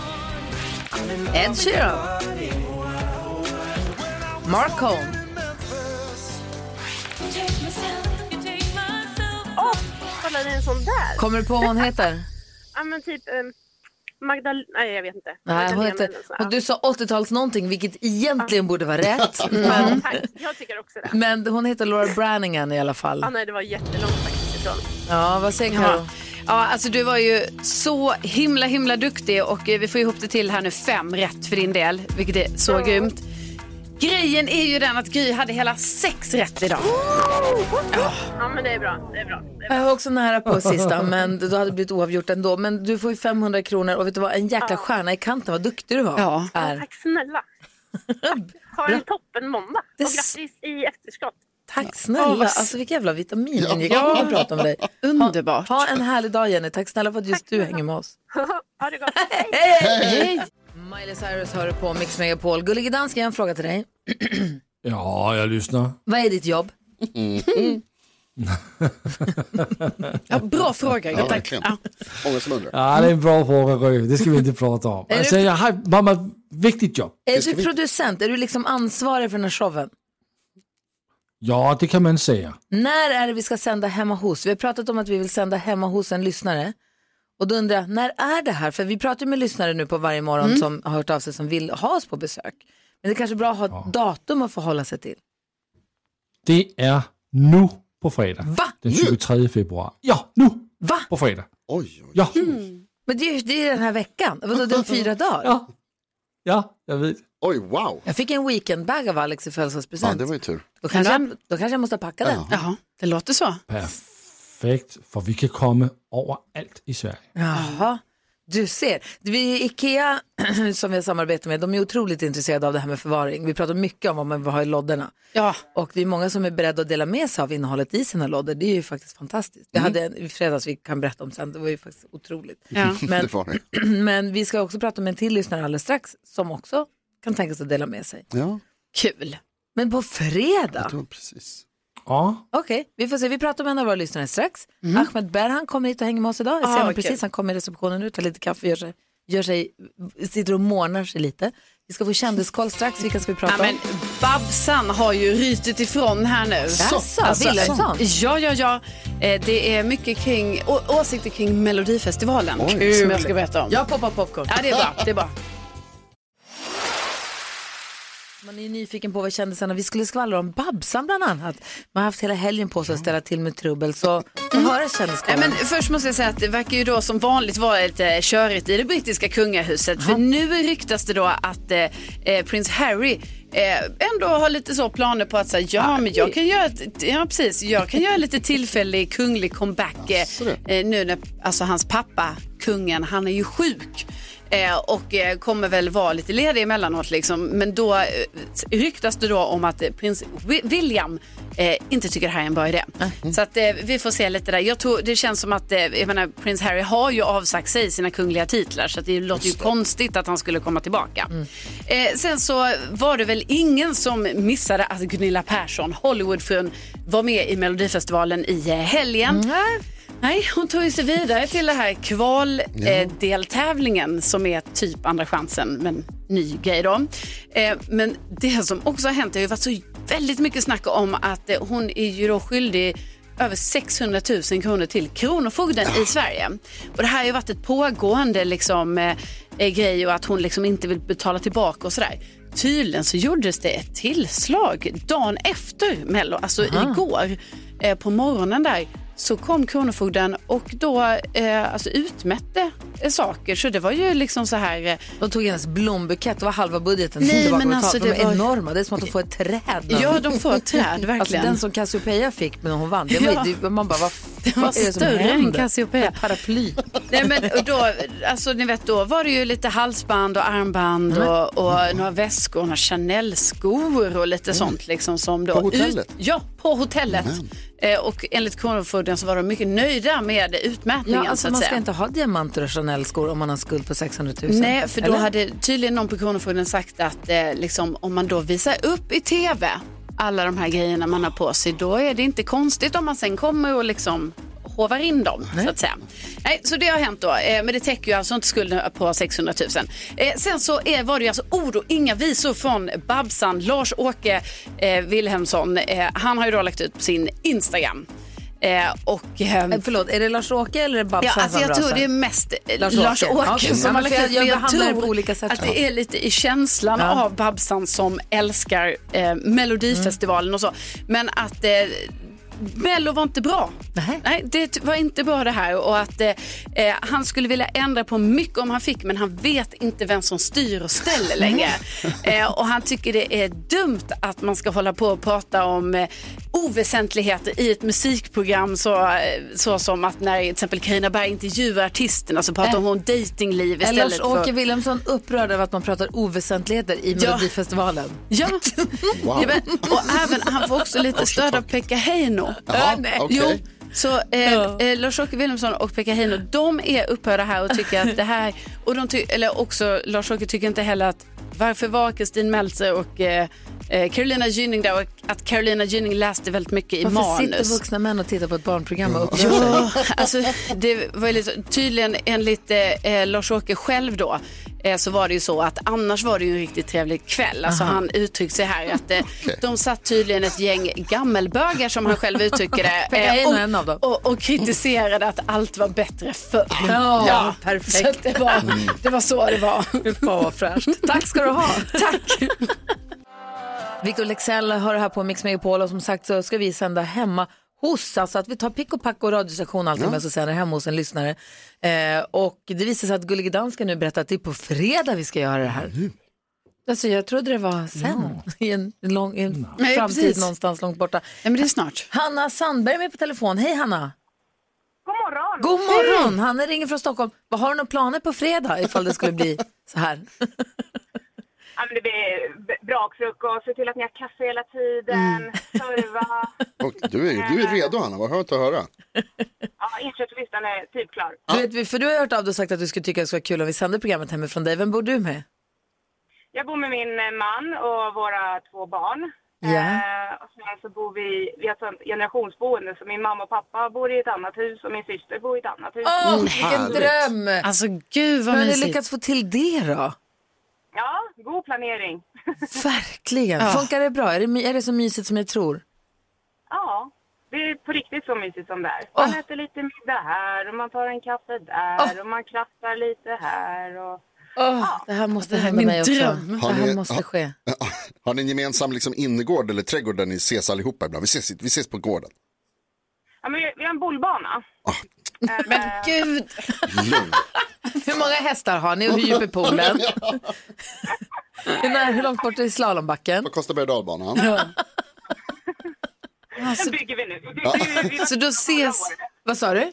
Speaker 1: Ed Sheeran. Marcon.
Speaker 8: Åh, kolla det är en sån där.
Speaker 1: Kommer du på vad hon heter?
Speaker 8: Ja, men typ um, Magdalena. Nej, jag vet inte.
Speaker 1: Nej, hon
Speaker 8: Magdalena
Speaker 1: heter,
Speaker 8: eller så.
Speaker 1: och du sa 80-tals någonting, vilket egentligen borde vara rätt.
Speaker 8: Ja,
Speaker 1: Men,
Speaker 8: tack. Jag tycker också det.
Speaker 1: men hon heter Laura Branningen i alla fall.
Speaker 8: Ah, nej, det var jättelångt faktiskt ifrån.
Speaker 1: Ja, vad säger Karo?
Speaker 6: Ja, alltså du var ju så himla, himla duktig och eh, vi får ihop det till här nu fem rätt för din del, vilket är så grymt. Grejen är ju den att Gry hade hela sex rätt idag.
Speaker 8: Ja, men det är bra. Det är bra. Det är bra.
Speaker 1: Jag var också nära på sista, men då hade det blivit oavgjort ändå. Men du får ju 500 kronor och vet du vad, en jäkla stjärna i kanten, vad duktig du var.
Speaker 6: Ja.
Speaker 1: Är.
Speaker 8: Tack snälla. Ha en toppen måndag.
Speaker 1: Det
Speaker 8: Och
Speaker 1: s-
Speaker 8: grattis i efterskott.
Speaker 1: Tack snälla,
Speaker 6: Ja, vad s-
Speaker 1: alltså vilka jävla vitamin
Speaker 6: Ja.
Speaker 1: ja. gick ja. prata om dig.
Speaker 6: Underbart.
Speaker 1: Ha en härlig dag Jenny, tack snälla för att just du hänger med oss.
Speaker 8: ha det gott. Hej!
Speaker 1: Hej! Miley Cyrus hör du på Mix Megapol. Gullige dansken, jag har en fråga till dig.
Speaker 4: Ja, jag lyssnar.
Speaker 1: Vad är ditt jobb?
Speaker 2: Mm-hmm.
Speaker 6: Ja, bra fråga,
Speaker 2: Ja, verkligen. Många som undrar.
Speaker 4: Ja, det är en bra fråga, Gry. Det ska vi inte prata om.
Speaker 1: Är det-
Speaker 4: Alltså, jag har ett mamma, viktigt jobb.
Speaker 1: Är du producent? Är du liksom ansvarig för den här showen?
Speaker 4: Ja, det kan man säga.
Speaker 1: När är det vi ska sända hemma hos? Vi har pratat om att vi vill sända hemma hos en lyssnare. Och då undrar jag, när är det här? För vi pratar ju med lyssnare nu på varje morgon
Speaker 6: Mm.
Speaker 1: som har hört av sig som vill ha oss på besök. Men det är kanske är bra att ha ett datum att förhålla sig till.
Speaker 4: Det är nu på fredag. Den 23 februari. Ja, nu!
Speaker 1: Va?
Speaker 4: På fredag.
Speaker 2: Oj,
Speaker 1: Hmm.
Speaker 2: oj.
Speaker 4: Ja,
Speaker 1: Men det är ju det är den här veckan, vadå det är om fyra dagar?
Speaker 4: Ja. ja, jag vet.
Speaker 2: Oj, wow.
Speaker 1: Jag fick en weekendbag av Alex i
Speaker 2: Ja,
Speaker 1: födelsedagspresent.
Speaker 2: det var ju tur.
Speaker 1: då, kanske jag, då kanske jag måste packa den.
Speaker 6: Ja, det låter så.
Speaker 4: Perfekt, för vi kan komma överallt i Sverige.
Speaker 1: Jaha, du ser. Vi, Ikea som vi har samarbete med, de är otroligt intresserade av det här med förvaring. Vi pratar mycket om vad man vill ha i lådorna.
Speaker 6: Ja.
Speaker 1: Och det är många som är beredda att dela med sig av innehållet i sina lådor. Det är ju faktiskt fantastiskt.
Speaker 6: Mm.
Speaker 1: Vi hade en i fredags vi kan berätta om sen, det var ju faktiskt otroligt.
Speaker 6: Ja.
Speaker 1: Men,
Speaker 2: Det var det.
Speaker 1: men vi ska också prata med en till lyssnare alldeles strax som också kan tänka sig att dela med sig.
Speaker 2: Ja,
Speaker 6: Kul.
Speaker 1: Men på fredag?
Speaker 2: det var precis.
Speaker 4: Ja,
Speaker 1: Okej, vi får se. Vi pratar med en av våra lyssnare strax. Ahmed Berhan kommer hit och hänger med oss idag. Jag ser
Speaker 6: Mhm. Ah,
Speaker 1: honom
Speaker 6: vad kul.
Speaker 1: precis. Han kommer i receptionen nu, tar lite kaffe, gör sig, gör sig, sitter och månar sig lite. Vi ska få kändiskoll strax. Vilka ska vi prata
Speaker 6: Ja, men
Speaker 1: om?
Speaker 6: Babsan har ju rytit ifrån här nu. Alltså,
Speaker 1: Jaså, Wilhelmsson?
Speaker 6: Ja, ja, ja. Eh, Det är mycket kring, å, åsikter kring Melodifestivalen
Speaker 2: Oj.
Speaker 6: som jag ska berätta om. Ja.
Speaker 1: Jag poppar popcorn.
Speaker 6: det är bra. Det är bra.
Speaker 1: Man är ju nyfiken på vad kändisarna... Vi skulle skvallra om Babsan bland annat. Man har haft hela helgen på sig att ställa till med trubbel. Så få
Speaker 6: Mm.
Speaker 1: höra
Speaker 6: Nej,
Speaker 1: kändiskollen.
Speaker 6: men först måste jag säga att det verkar ju då som vanligt vara lite körigt i det brittiska kungahuset. För nu ryktas det då att eh, eh, prins Harry eh, ändå har lite så planer på att säga ja, men jag kan göra, ett, ja, precis, jag kan göra lite tillfällig kunglig comeback eh, eh, nu när alltså, hans pappa kungen, han är ju sjuk. Eh, och eh, kommer väl vara lite ledig emellanåt. Liksom. Men då eh, ryktas det då om att eh, prins Wi- William eh, inte tycker det här är en bra idé. Så att, eh, vi får se lite där. Jag tror, det känns som att eh, jag menar, prins Harry har ju avsagt sig sina kungliga titlar så att det låter ju konstigt att han skulle komma tillbaka. Eh, sen så var det väl ingen som missade att Gunilla Persson, Hollywoodfrun, var med i Melodifestivalen i eh, helgen. Nej, hon tog ju sig vidare till det här eh, kvaldeltävlingen som är typ andra chansen, men ny grej då. Eh, Men det som också har hänt, det har ju varit så väldigt mycket snack om att eh, hon är ju då skyldig över 600 000 kronor till Kronofogden i Sverige. Och det här har ju varit ett pågående liksom, eh, eh, grej och att hon liksom inte vill betala tillbaka och sådär. Tydligen så gjordes det ett tillslag dagen efter Mello, alltså igår eh, på morgonen där så kom Kronofogden och då eh, alltså utmätte eh, saker. Så det var ju liksom så här... Eh,
Speaker 1: De tog hennes blombukett, det var halva budgeten
Speaker 6: Nej,
Speaker 1: som tillbaka
Speaker 6: men
Speaker 1: men
Speaker 6: alltså,
Speaker 1: De
Speaker 6: det
Speaker 1: är
Speaker 6: var-
Speaker 1: enorma, det är som att de får ett träd.
Speaker 6: Ja, de får ett träd,
Speaker 1: Alltså,
Speaker 6: verkligen.
Speaker 1: den som Cassiopeia fick när hon vann, det var,
Speaker 6: Ja.
Speaker 1: ju- det, man bara, vad,
Speaker 6: Det var
Speaker 1: vad är det som
Speaker 6: större än
Speaker 1: händer?
Speaker 6: Cassiopeia.
Speaker 1: Paraply.
Speaker 6: Nej, men och då, alltså, ni vet, då var det ju lite halsband och armband
Speaker 1: Mm.
Speaker 6: och, och några väskor, några Chanel-skor och
Speaker 1: Mm.
Speaker 6: lite sånt. Liksom, som då,
Speaker 2: På hotellet?
Speaker 6: Ut, ja, på hotellet. Eh, och enligt Kronofogden så var de mycket nöjda med utmätningen.
Speaker 1: Ja,
Speaker 6: så
Speaker 1: alltså,
Speaker 6: att
Speaker 1: man ska
Speaker 6: säga.
Speaker 1: inte ha diamanter och Chanel-skor om man har en skuld på 600 000.
Speaker 6: Nej, för då
Speaker 1: Eller?
Speaker 6: hade tydligen någon på Kronofogden sagt att eh, liksom, om man då visar upp i tv alla de här grejerna man har på sig, då är det inte konstigt om man sen kommer och liksom hovar in dem. Så att säga. Nej, så det har hänt då, eh, men det täcker ju alltså inte skulden på 600 000. Eh, sen så är, var det ju alltså ord och inga visor från Babsan, Lars-Åke eh, Wilhelmsson. Eh, han har ju då lagt ut på sin Instagram. Eh, och, ehm,
Speaker 1: Eh, Förlåt, är det Lars-Åke eller är det
Speaker 6: Ja,
Speaker 1: Babsan
Speaker 6: alltså
Speaker 1: som
Speaker 6: jag tror
Speaker 1: brasar?
Speaker 6: det är mest eh,
Speaker 1: Lars-Åke.
Speaker 6: Lars-Åke
Speaker 1: Ja, okej. Ja,
Speaker 6: som har
Speaker 1: men
Speaker 6: lagt
Speaker 1: för
Speaker 6: ut.
Speaker 1: jag- jag
Speaker 6: men jag
Speaker 1: behandlar det
Speaker 6: tror
Speaker 1: på olika sätt.
Speaker 6: att det är lite i känslan
Speaker 1: Ja.
Speaker 6: av Babsan som älskar eh, Melodifestivalen och så. Men att eh, Mello var inte bra.
Speaker 1: Nej.
Speaker 6: Nej, det var inte bra det här och att eh, eh, han skulle vilja ändra på mycket om han fick men han vet inte vem som styr och ställer längre. eh, och han tycker det är dumt att man ska hålla på och prata om eh, oväsentligheter i ett musikprogram så, eh, så som att när till exempel Carina Berg intervjuar artisterna så pratar
Speaker 1: Äh.
Speaker 6: hon om dejtingliv
Speaker 1: Är
Speaker 6: istället
Speaker 1: Lars-Åke
Speaker 6: för...
Speaker 1: Wilhelmsson upprörd över att man pratar oväsentligheter i
Speaker 6: Ja.
Speaker 1: Melodifestivalen?
Speaker 6: Ja. ja, men, och även, han får också lite stöd av Pekka Heino.
Speaker 2: Jaha,
Speaker 6: Äh, nej.
Speaker 2: okej.
Speaker 6: Jo, så eh, eh, Lars-Åke Wilhelmsson och Pekka Heino, de är upprörda här och tycker att det här, och de ty- eller också Lars-Åke tycker inte heller att varför var Kristin Meltzer och eh, eh, Carolina Gynning där och att Carolina Gynning läste väldigt mycket i
Speaker 1: Varför sitter
Speaker 6: manus.
Speaker 1: vuxna män och tittar på ett barnprogram och upprör sig?
Speaker 6: Ja, alltså, det var ju lite, tydligen enligt eh, eh, Lars-Åke själv då eh, så var det ju så att annars var det ju en riktigt trevlig kväll. Alltså, han uttryckte sig här att eh, de satt tydligen ett gäng gammelbögar som han själv uttrycker det. eh,
Speaker 1: Pekka Heino är en av
Speaker 6: och,
Speaker 1: dem.
Speaker 6: och, och kritiserade att allt var bättre förr.
Speaker 1: Ja, perfekt.
Speaker 6: Så att det, var, det var så det var.
Speaker 1: Fan vad fräscht. Tack ska du ha. Tack. Victor Lexell hör här på Mix Megapol och som sagt så ska vi sända hemma hos, alltså att vi tar pick och pack och radiostation och allting men så sänder hemma hos en lyssnare. Eh, och det visar sig att Gullige Dansken nu berättar att det är på fredag vi ska göra det här. Alltså jag trodde det var sen, i en, lång, i en
Speaker 6: Nej,
Speaker 1: framtid
Speaker 6: precis.
Speaker 1: någonstans långt borta.
Speaker 6: Nej, men det är snart.
Speaker 1: Hanna Sandberg är med på telefon. Hej Hanna! God morgon! Hanna ringer från Stockholm. Vad Har du några planer på fredag ifall det skulle bli så här?
Speaker 9: Ja, men det blir b- brakfrukost, se till att ni har kaffe hela tiden,
Speaker 1: Mm.
Speaker 9: serva.
Speaker 2: Och du, är, du är redo Hanna, vad skönt att höra.
Speaker 9: Ja, inköpslistan är typ klar.
Speaker 1: Du vet, vi- för du har hört av dig och sagt att du skulle tycka det skulle vara kul om vi sände programmet hemifrån dig. Vem bor du med?
Speaker 9: Jag bor med min eh, man och våra två barn.
Speaker 1: Ja.
Speaker 9: Eh, och sen så bor vi, vi har ett sånt generationsboende så min mamma och pappa bor i ett annat hus och min syster bor i ett annat hus. Mm.
Speaker 1: Åh, vilken dröm!
Speaker 6: Alltså gud
Speaker 1: Hur
Speaker 6: vad
Speaker 1: har ni
Speaker 6: mysigt.
Speaker 1: lyckats få till det då?
Speaker 9: Ja, god planering.
Speaker 1: Verkligen.
Speaker 6: Ja.
Speaker 1: Funkar det bra? Är det, my- är det så mysigt som jag tror?
Speaker 9: Ja, det är på riktigt så mysigt som det är. Man
Speaker 1: Åh.
Speaker 9: äter lite middag här och man tar en kaffe där och man krattar lite här och...
Speaker 1: Åh, det här måste hända
Speaker 6: min
Speaker 1: mig också.
Speaker 6: dröm.
Speaker 1: Det här
Speaker 2: ni-
Speaker 1: måste
Speaker 2: har-
Speaker 1: ske.
Speaker 2: Har ni en gemensam liksom, innergård eller trädgård där ni ses allihopa ibland? Vi ses, vi ses på gården.
Speaker 9: Ja, men vi, vi har en bollbana. Eh,
Speaker 6: Men gud.
Speaker 2: Lugn.
Speaker 1: Hur många hästar har ni och hur djup är poolen? hur, när, hur långt bort är slalombacken?
Speaker 2: Vad kostar berg och dalbanan?
Speaker 9: Den bygger vi nu. Vi, vi, vi, vi,
Speaker 6: Så då ses...
Speaker 1: Vad sa du?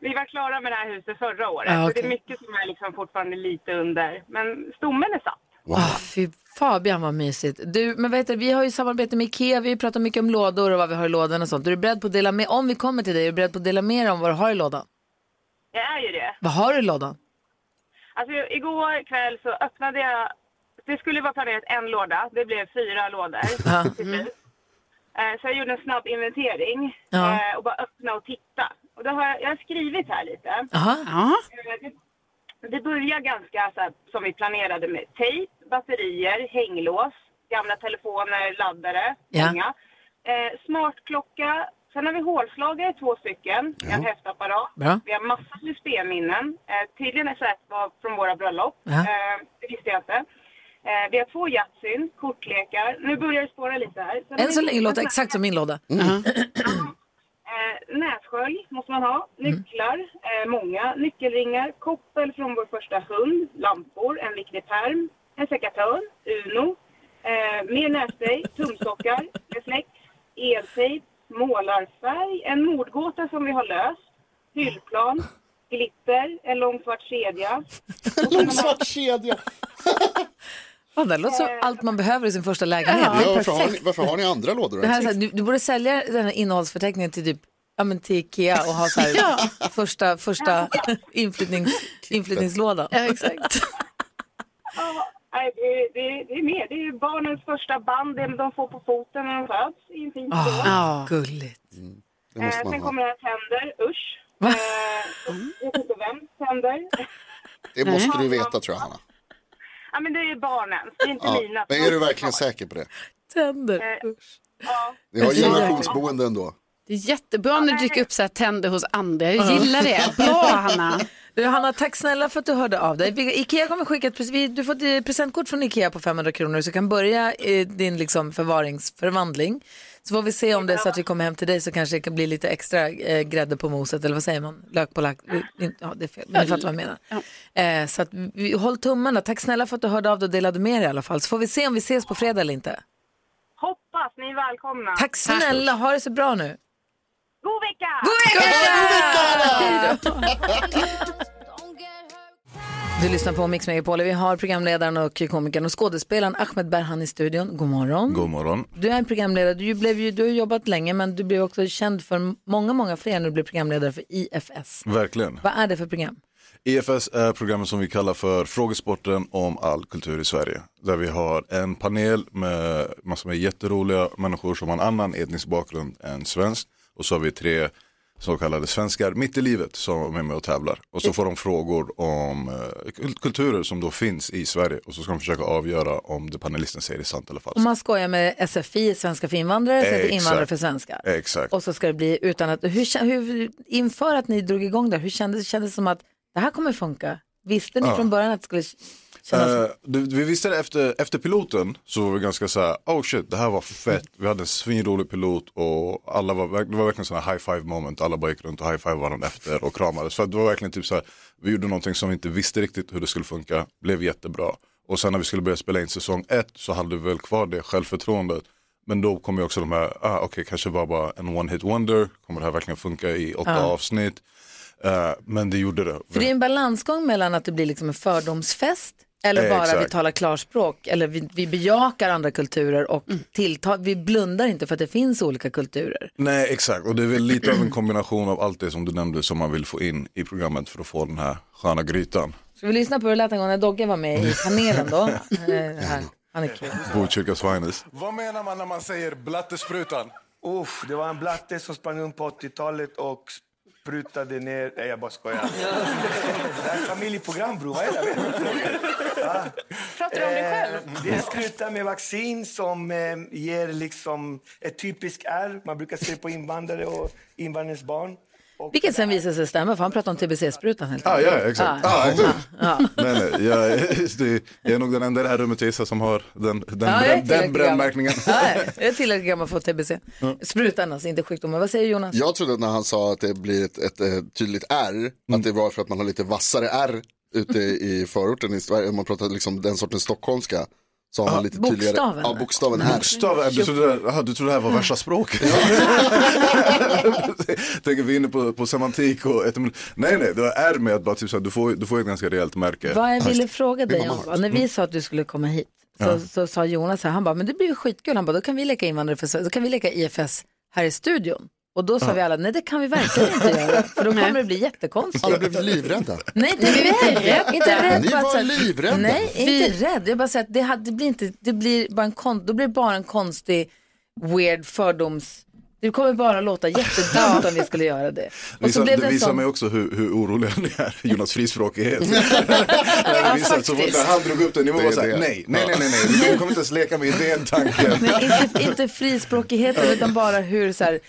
Speaker 9: vi var klara med det här huset förra året.
Speaker 1: Ja,
Speaker 9: Så
Speaker 1: Ah, okej.
Speaker 9: det är mycket som är liksom fortfarande lite under. Men stommen är satt.
Speaker 1: Ah, fy Fabian vad mysigt. Du, men vet du, vi har ju samarbete med Ikea, vi pratar mycket om lådor och vad vi har i lådan och sånt. Är du beredd på att dela med, om vi kommer till dig, är du beredd på att dela med dig om vad du har i lådan?
Speaker 9: Jag är ju det.
Speaker 1: Vad har du i lådan?
Speaker 9: Alltså, igår kväll så öppnade jag... Det skulle vara planerat en låda, det blev fyra lådor.
Speaker 1: Ja. Mm.
Speaker 9: till slut. Eh, Så jag gjorde en snabb inventering
Speaker 1: Ja.
Speaker 9: eh, och bara öppna och titta. Och då har jag, jag har skrivit här lite.
Speaker 1: Aha. Ja.
Speaker 9: Eh, Det, det börjar ganska så här, som vi planerade med tejp, batterier, hänglås, gamla telefoner, laddare,
Speaker 10: Ja.
Speaker 9: många. Eh, smartklocka. Sen har vi hålslagare, två stycken. Vi har en häftapparat.
Speaker 10: Bra.
Speaker 9: Vi har massa USB-minnen. Eh, tydligen är så här att det var från våra bröllop.
Speaker 10: Ja.
Speaker 9: Eh, det visste jag inte. Eh, vi har två Yatzy, kortlekar. Nu börjar det spåra lite här. Sen har
Speaker 1: Än
Speaker 9: vi
Speaker 1: så länge
Speaker 9: en
Speaker 1: låter
Speaker 9: sån
Speaker 1: det
Speaker 9: här
Speaker 1: exakt som min låda.
Speaker 2: Mm.
Speaker 9: Eh, nässkölj måste man ha,
Speaker 2: Mm.
Speaker 9: nycklar, eh, många, nyckelringar, koppel från vår första hund, lampor, en viktig pärm, en sekatör, Uno, eh, mer nässpray, tumstockar, reflex, eltejp, målarfärg, en mordgåta som vi har löst, hyllplan, glitter, en lång svart kedja.
Speaker 2: Lång svart kedja!
Speaker 1: Ja, det låter
Speaker 6: Eh.
Speaker 1: som allt man behöver i sin första lägenhet.
Speaker 2: Ja,
Speaker 1: Det är
Speaker 2: varför, har ni,
Speaker 1: perfekt.
Speaker 2: varför har ni andra lådor?
Speaker 1: Det här, är så här, du, du borde sälja den här innehållsförteckningen till typ Ja, men till Ikea och ha så här första, första inflyttnings, inflyttningslådan.
Speaker 6: Ja, exakt.
Speaker 9: Ja, nej, det, det, det är mer, det är ju barnens första band, det de får på foten när de föds i en fin skål.
Speaker 1: Ah, gulligt.
Speaker 2: Mm. Det måste
Speaker 9: eh,
Speaker 2: man
Speaker 9: sen
Speaker 2: ha.
Speaker 9: kommer det här tänder, usch. Eh, jag vet inte vems tänder.
Speaker 2: Det måste du veta tror jag, Hanna.
Speaker 9: Ja, men det är ju barnens, det är inte
Speaker 2: Ja.
Speaker 9: mina. Eh,
Speaker 2: Men är du verkligen säker på det?
Speaker 1: Tänder,
Speaker 9: usch. Ja.
Speaker 2: Vi har
Speaker 6: Det är-
Speaker 2: generationsboende ändå.
Speaker 6: Det är jättebra när du dricker upp så här tänder hos andra. Jag gillar det. Bra Hanna.
Speaker 1: Du, Hanna, tack snälla för att du hörde av dig. Vi- Ikea kommer skicka ett, pres- vi- du får ett eh, presentkort från Ikea på 500 kronor så du kan börja eh, din liksom, förvaringsförvandling. Så får vi se om det är så att vi kommer hem till dig så kanske det kan bli lite extra eh, grädde på moset eller vad säger man? Lök på lack? Eh, in- Ja, det är fel, men ni fattar vad jag menar. Eh, så att, vi, håll tummarna. Tack snälla för att du hörde av dig och delade med dig i alla fall. Så får vi se om vi ses på fredag eller inte.
Speaker 9: Hoppas ni är välkomna.
Speaker 1: Tack snälla, ha det så bra nu.
Speaker 9: God vecka!
Speaker 1: God
Speaker 9: vecka!
Speaker 1: Du lyssnar på Mix Megapol. Vi har programledaren och komikern och skådespelaren Ahmed Berhan i studion. God morgon.
Speaker 11: God morgon.
Speaker 1: Du är en programledare, du, blev ju, du har jobbat länge men du blev också känd för många, många fler när du blev programledare för IFS.
Speaker 11: Mm. Verkligen.
Speaker 1: Vad är det för program?
Speaker 11: EFS är programmet som vi kallar för Frågesporten om all kultur i Sverige. Där vi har en panel med massor med jätteroliga människor som har en annan etnisk bakgrund än svensk. Och så har vi tre så kallade svenskar mitt i livet som är med och tävlar. Och så får de frågor om eh, kul- kulturer som då finns i Sverige. Och så ska de försöka avgöra om det panelisten säger är sant eller
Speaker 1: Om
Speaker 11: falskt.
Speaker 1: man skojar med SFI, svenska för invandrare, så heter det
Speaker 11: Exakt.
Speaker 1: invandrare för svenskar.
Speaker 11: Exakt.
Speaker 1: Och så ska det bli utan att, hur, kä- hur, inför att ni drog igång där, hur kändes, kändes det som att det här kommer funka? Visste ni
Speaker 11: Ja.
Speaker 1: från början att det skulle kännas
Speaker 11: Eh, du, vi visste det efter, efter piloten så var vi ganska så här, oh shit det här var fett, vi hade en svinrolig pilot och alla var, verk- det var verkligen sådana high five moment, alla bara gick runt och high five varandra efter och kramades. För att det var verkligen typ så här, vi gjorde någonting som vi inte visste riktigt hur det skulle funka, blev jättebra. Och sen när vi skulle börja spela in säsong ett så hade vi väl kvar det självförtroendet. Men då kom ju också de här, ah, okej kanske var bara en one hit wonder, kommer det här verkligen funka i åtta
Speaker 1: Ja.
Speaker 11: avsnitt? Eh, men det gjorde det.
Speaker 1: För det är en balansgång mellan att det blir liksom en fördomsfest eller
Speaker 11: Eh,
Speaker 1: bara
Speaker 11: exakt.
Speaker 1: vi talar klarspråk eller vi, vi bejakar andra kulturer och tillta, vi blundar inte för att det finns olika kulturer.
Speaker 11: Nej, exakt. Och det är väl lite av en kombination av allt det som du nämnde som man vill få in i programmet för att få den här sköna grytan.
Speaker 1: Ska vi lyssna på hur det lät en gång när Dogge var med i panelen då? Eh, här.
Speaker 11: Mm.
Speaker 1: Han är kul.
Speaker 11: Botkyrka Svinus.
Speaker 12: Vad menar man när man säger blattesprutan? Uff, det var en blatte som sprang runt på 80-talet och sprutade ner... Nej, jag bara skojar. det här är ett familjeprogram, bror. Vad är det här? Ja.
Speaker 13: Pratar du om dig själv?
Speaker 12: Eh, Det slutar med vaccin som eh, ger liksom ett typiskt R. Man brukar se på invandrare och invandrarens barn. Och
Speaker 1: Vilket sen visade sig stämma för han pratade om TBC-sprutan helt
Speaker 11: Mm. Ah, ja, exakt.
Speaker 1: Ja.
Speaker 11: Ah, exakt.
Speaker 1: Ja.
Speaker 11: Nej, nej, jag, det, jag är nog den enda i det här rummet gissar som har den, den,
Speaker 1: Ja,
Speaker 11: den,
Speaker 1: jag är
Speaker 11: den
Speaker 1: tillräckligt
Speaker 11: brännmärkningen.
Speaker 1: gammal. Ja, jag är tillräckligt gammal för att få TBC.
Speaker 11: Mm.
Speaker 1: Sprutan alltså, inte sjukdomen. Vad säger Jonas?
Speaker 2: Jag trodde att när han sa att det blir ett, ett, eh, tydligt R,
Speaker 11: Mm.
Speaker 2: att det var för att man har lite vassare R ute i förorten i Sverige, om man pratar liksom den sortens stockholmska. Så har man lite tydligare.
Speaker 11: bokstaven.
Speaker 2: Ja, bokstaven här.
Speaker 11: Bokstaven, du trodde, aha, du trodde det här var värsta språket. Tänker vi är inne på, på semantik och etymologi. Nej, nej, det var R med att bara typ så här, du får, du får ett ganska rejält märke.
Speaker 1: Vad jag ville
Speaker 11: Just.
Speaker 1: fråga
Speaker 11: Det
Speaker 1: dig
Speaker 11: var
Speaker 1: om,
Speaker 11: Mars.
Speaker 1: var, när vi sa att du skulle komma hit, så,
Speaker 11: Ja.
Speaker 1: så sa Jonas här, han bara, men det blir ju skitkul, han bara, då kan vi leka invandrare för Sverige, då kan vi leka IFS här i studion. Och då sa
Speaker 2: Ja.
Speaker 1: vi alla, nej det kan vi verkligen inte göra, för då kommer det bli jättekonstigt.
Speaker 2: Alla blev livrädda.
Speaker 1: Nej, inte, vi
Speaker 6: var
Speaker 1: inte rädda. Inte rädd,
Speaker 2: Ni
Speaker 1: bara
Speaker 2: var
Speaker 1: så här-
Speaker 2: livrädda.
Speaker 1: Nej, inte rädd. Jag bara säger att det, hade- det blir inte, det blir bara en kon, då blir det bara en konstig, weird fördoms... Det kommer bara låta jättedumt om vi skulle göra det. Och så
Speaker 11: Visar,
Speaker 1: blev
Speaker 11: det
Speaker 1: det en
Speaker 11: visar
Speaker 1: sån...
Speaker 11: mig också hur, hur oroliga ni är, för Jonas frispråkighet.
Speaker 14: Alltså,
Speaker 11: ja, visar, så fort
Speaker 1: faktiskt.
Speaker 11: alltså, när han drog upp den nivån
Speaker 2: Det är
Speaker 11: var så här,
Speaker 2: det.
Speaker 11: nej, nej, nej, nej, nej, du kommer inte ens leka med den tanken.
Speaker 1: Men inte, inte frispråkigheten utan bara hur så här,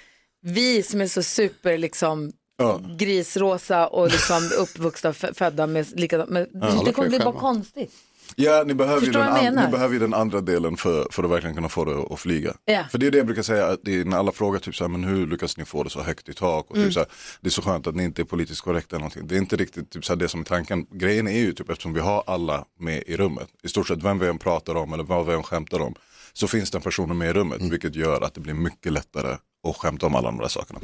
Speaker 1: vi som är så super liksom
Speaker 11: Ja.
Speaker 1: grisrosa och liksom uppvuxna fö- födda med likadant. Men
Speaker 11: Ja, alla
Speaker 1: det
Speaker 11: får ju
Speaker 1: kommer bli bara
Speaker 11: skämma.
Speaker 1: konstigt.
Speaker 11: Ja, ni behöver, ju
Speaker 1: Förstår
Speaker 11: den,
Speaker 1: vad jag
Speaker 11: an-
Speaker 1: menar?
Speaker 11: ni behöver ju den andra delen för, för att verkligen kunna få det att flyga.
Speaker 1: Ja.
Speaker 11: För det är det jag brukar säga, att det är när alla frågar typ så här, men hur lyckas ni få det så högt i tak? Och
Speaker 1: Mm.
Speaker 11: typ så här, det är så skönt att ni inte är politiskt korrekta eller någonting. Det är inte riktigt typ så här, det som är tanken. Grejen är ju typ eftersom vi har alla med i rummet, i stort sett vem vi än pratar om eller vad vi än skämtar om, så finns den personen med i rummet,
Speaker 1: Mm.
Speaker 11: vilket gör att det blir mycket lättare att skämta om alla de där sakerna.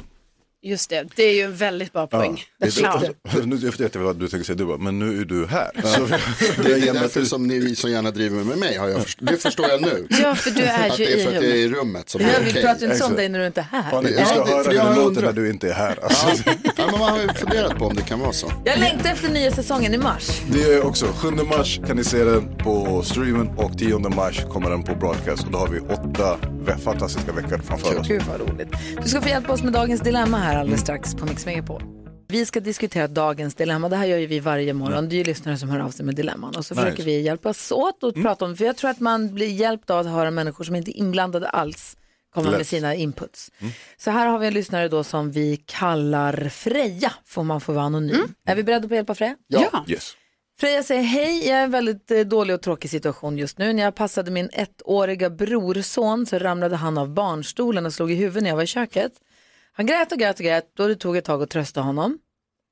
Speaker 6: Just det, det är ju en väldigt bra poäng.
Speaker 11: Det är så- Nu jag vet jag vad du tänker säga, du bara, men nu är du här. Så
Speaker 2: Det är därför som ni så gärna driver med mig, har jag först- det förstår jag nu.
Speaker 1: Ja, för du är
Speaker 2: att
Speaker 1: ju
Speaker 2: det är för
Speaker 1: i
Speaker 2: att jag är i
Speaker 1: rummet.
Speaker 2: rummet som
Speaker 1: Ja,
Speaker 2: är
Speaker 1: vi
Speaker 2: okej.
Speaker 1: pratar ju inte om
Speaker 2: Exakt.
Speaker 1: dig när du inte är här.
Speaker 2: Ja,
Speaker 11: Ni ska
Speaker 2: det- för
Speaker 11: höra hur
Speaker 2: jag
Speaker 11: det låter
Speaker 2: undrar-
Speaker 11: när du inte är här. Alltså.
Speaker 2: Ja, men man har ju funderat på om det kan vara så.
Speaker 1: Jag längtar efter nya säsongen i mars.
Speaker 11: Det är också 7 mars kan ni se den på streamen och 10 mars kommer den på broadcast och då har vi åtta ve- fantastiska veckor framför oss.
Speaker 1: Gud vad roligt. Du ska få hjälpa oss med dagens dilemma här alldeles strax på Mix Megapol. Vi ska diskutera dagens dilemma. Det här gör ju vi varje morgon. Det är ju lyssnare som hör av sig med dilemman. Och så
Speaker 6: Nice.
Speaker 1: försöker vi hjälpas åt och prata om För jag tror att man blir hjälpt av att höra människor som inte är inblandade alls komma med
Speaker 6: Lätt.
Speaker 1: sina inputs. Så här har vi en lyssnare då som vi kallar Freja, får man få vara anonym. Är vi beredda på att hjälpa Freja?
Speaker 11: Yes.
Speaker 1: Freja säger hej, jag är i en väldigt eh, dålig och tråkig situation just nu. När jag passade min ettåriga brorson så ramlade han av barnstolen och slog i huvudet när jag var i köket. Han grät och grät och grät och det tog ett tag att trösta honom.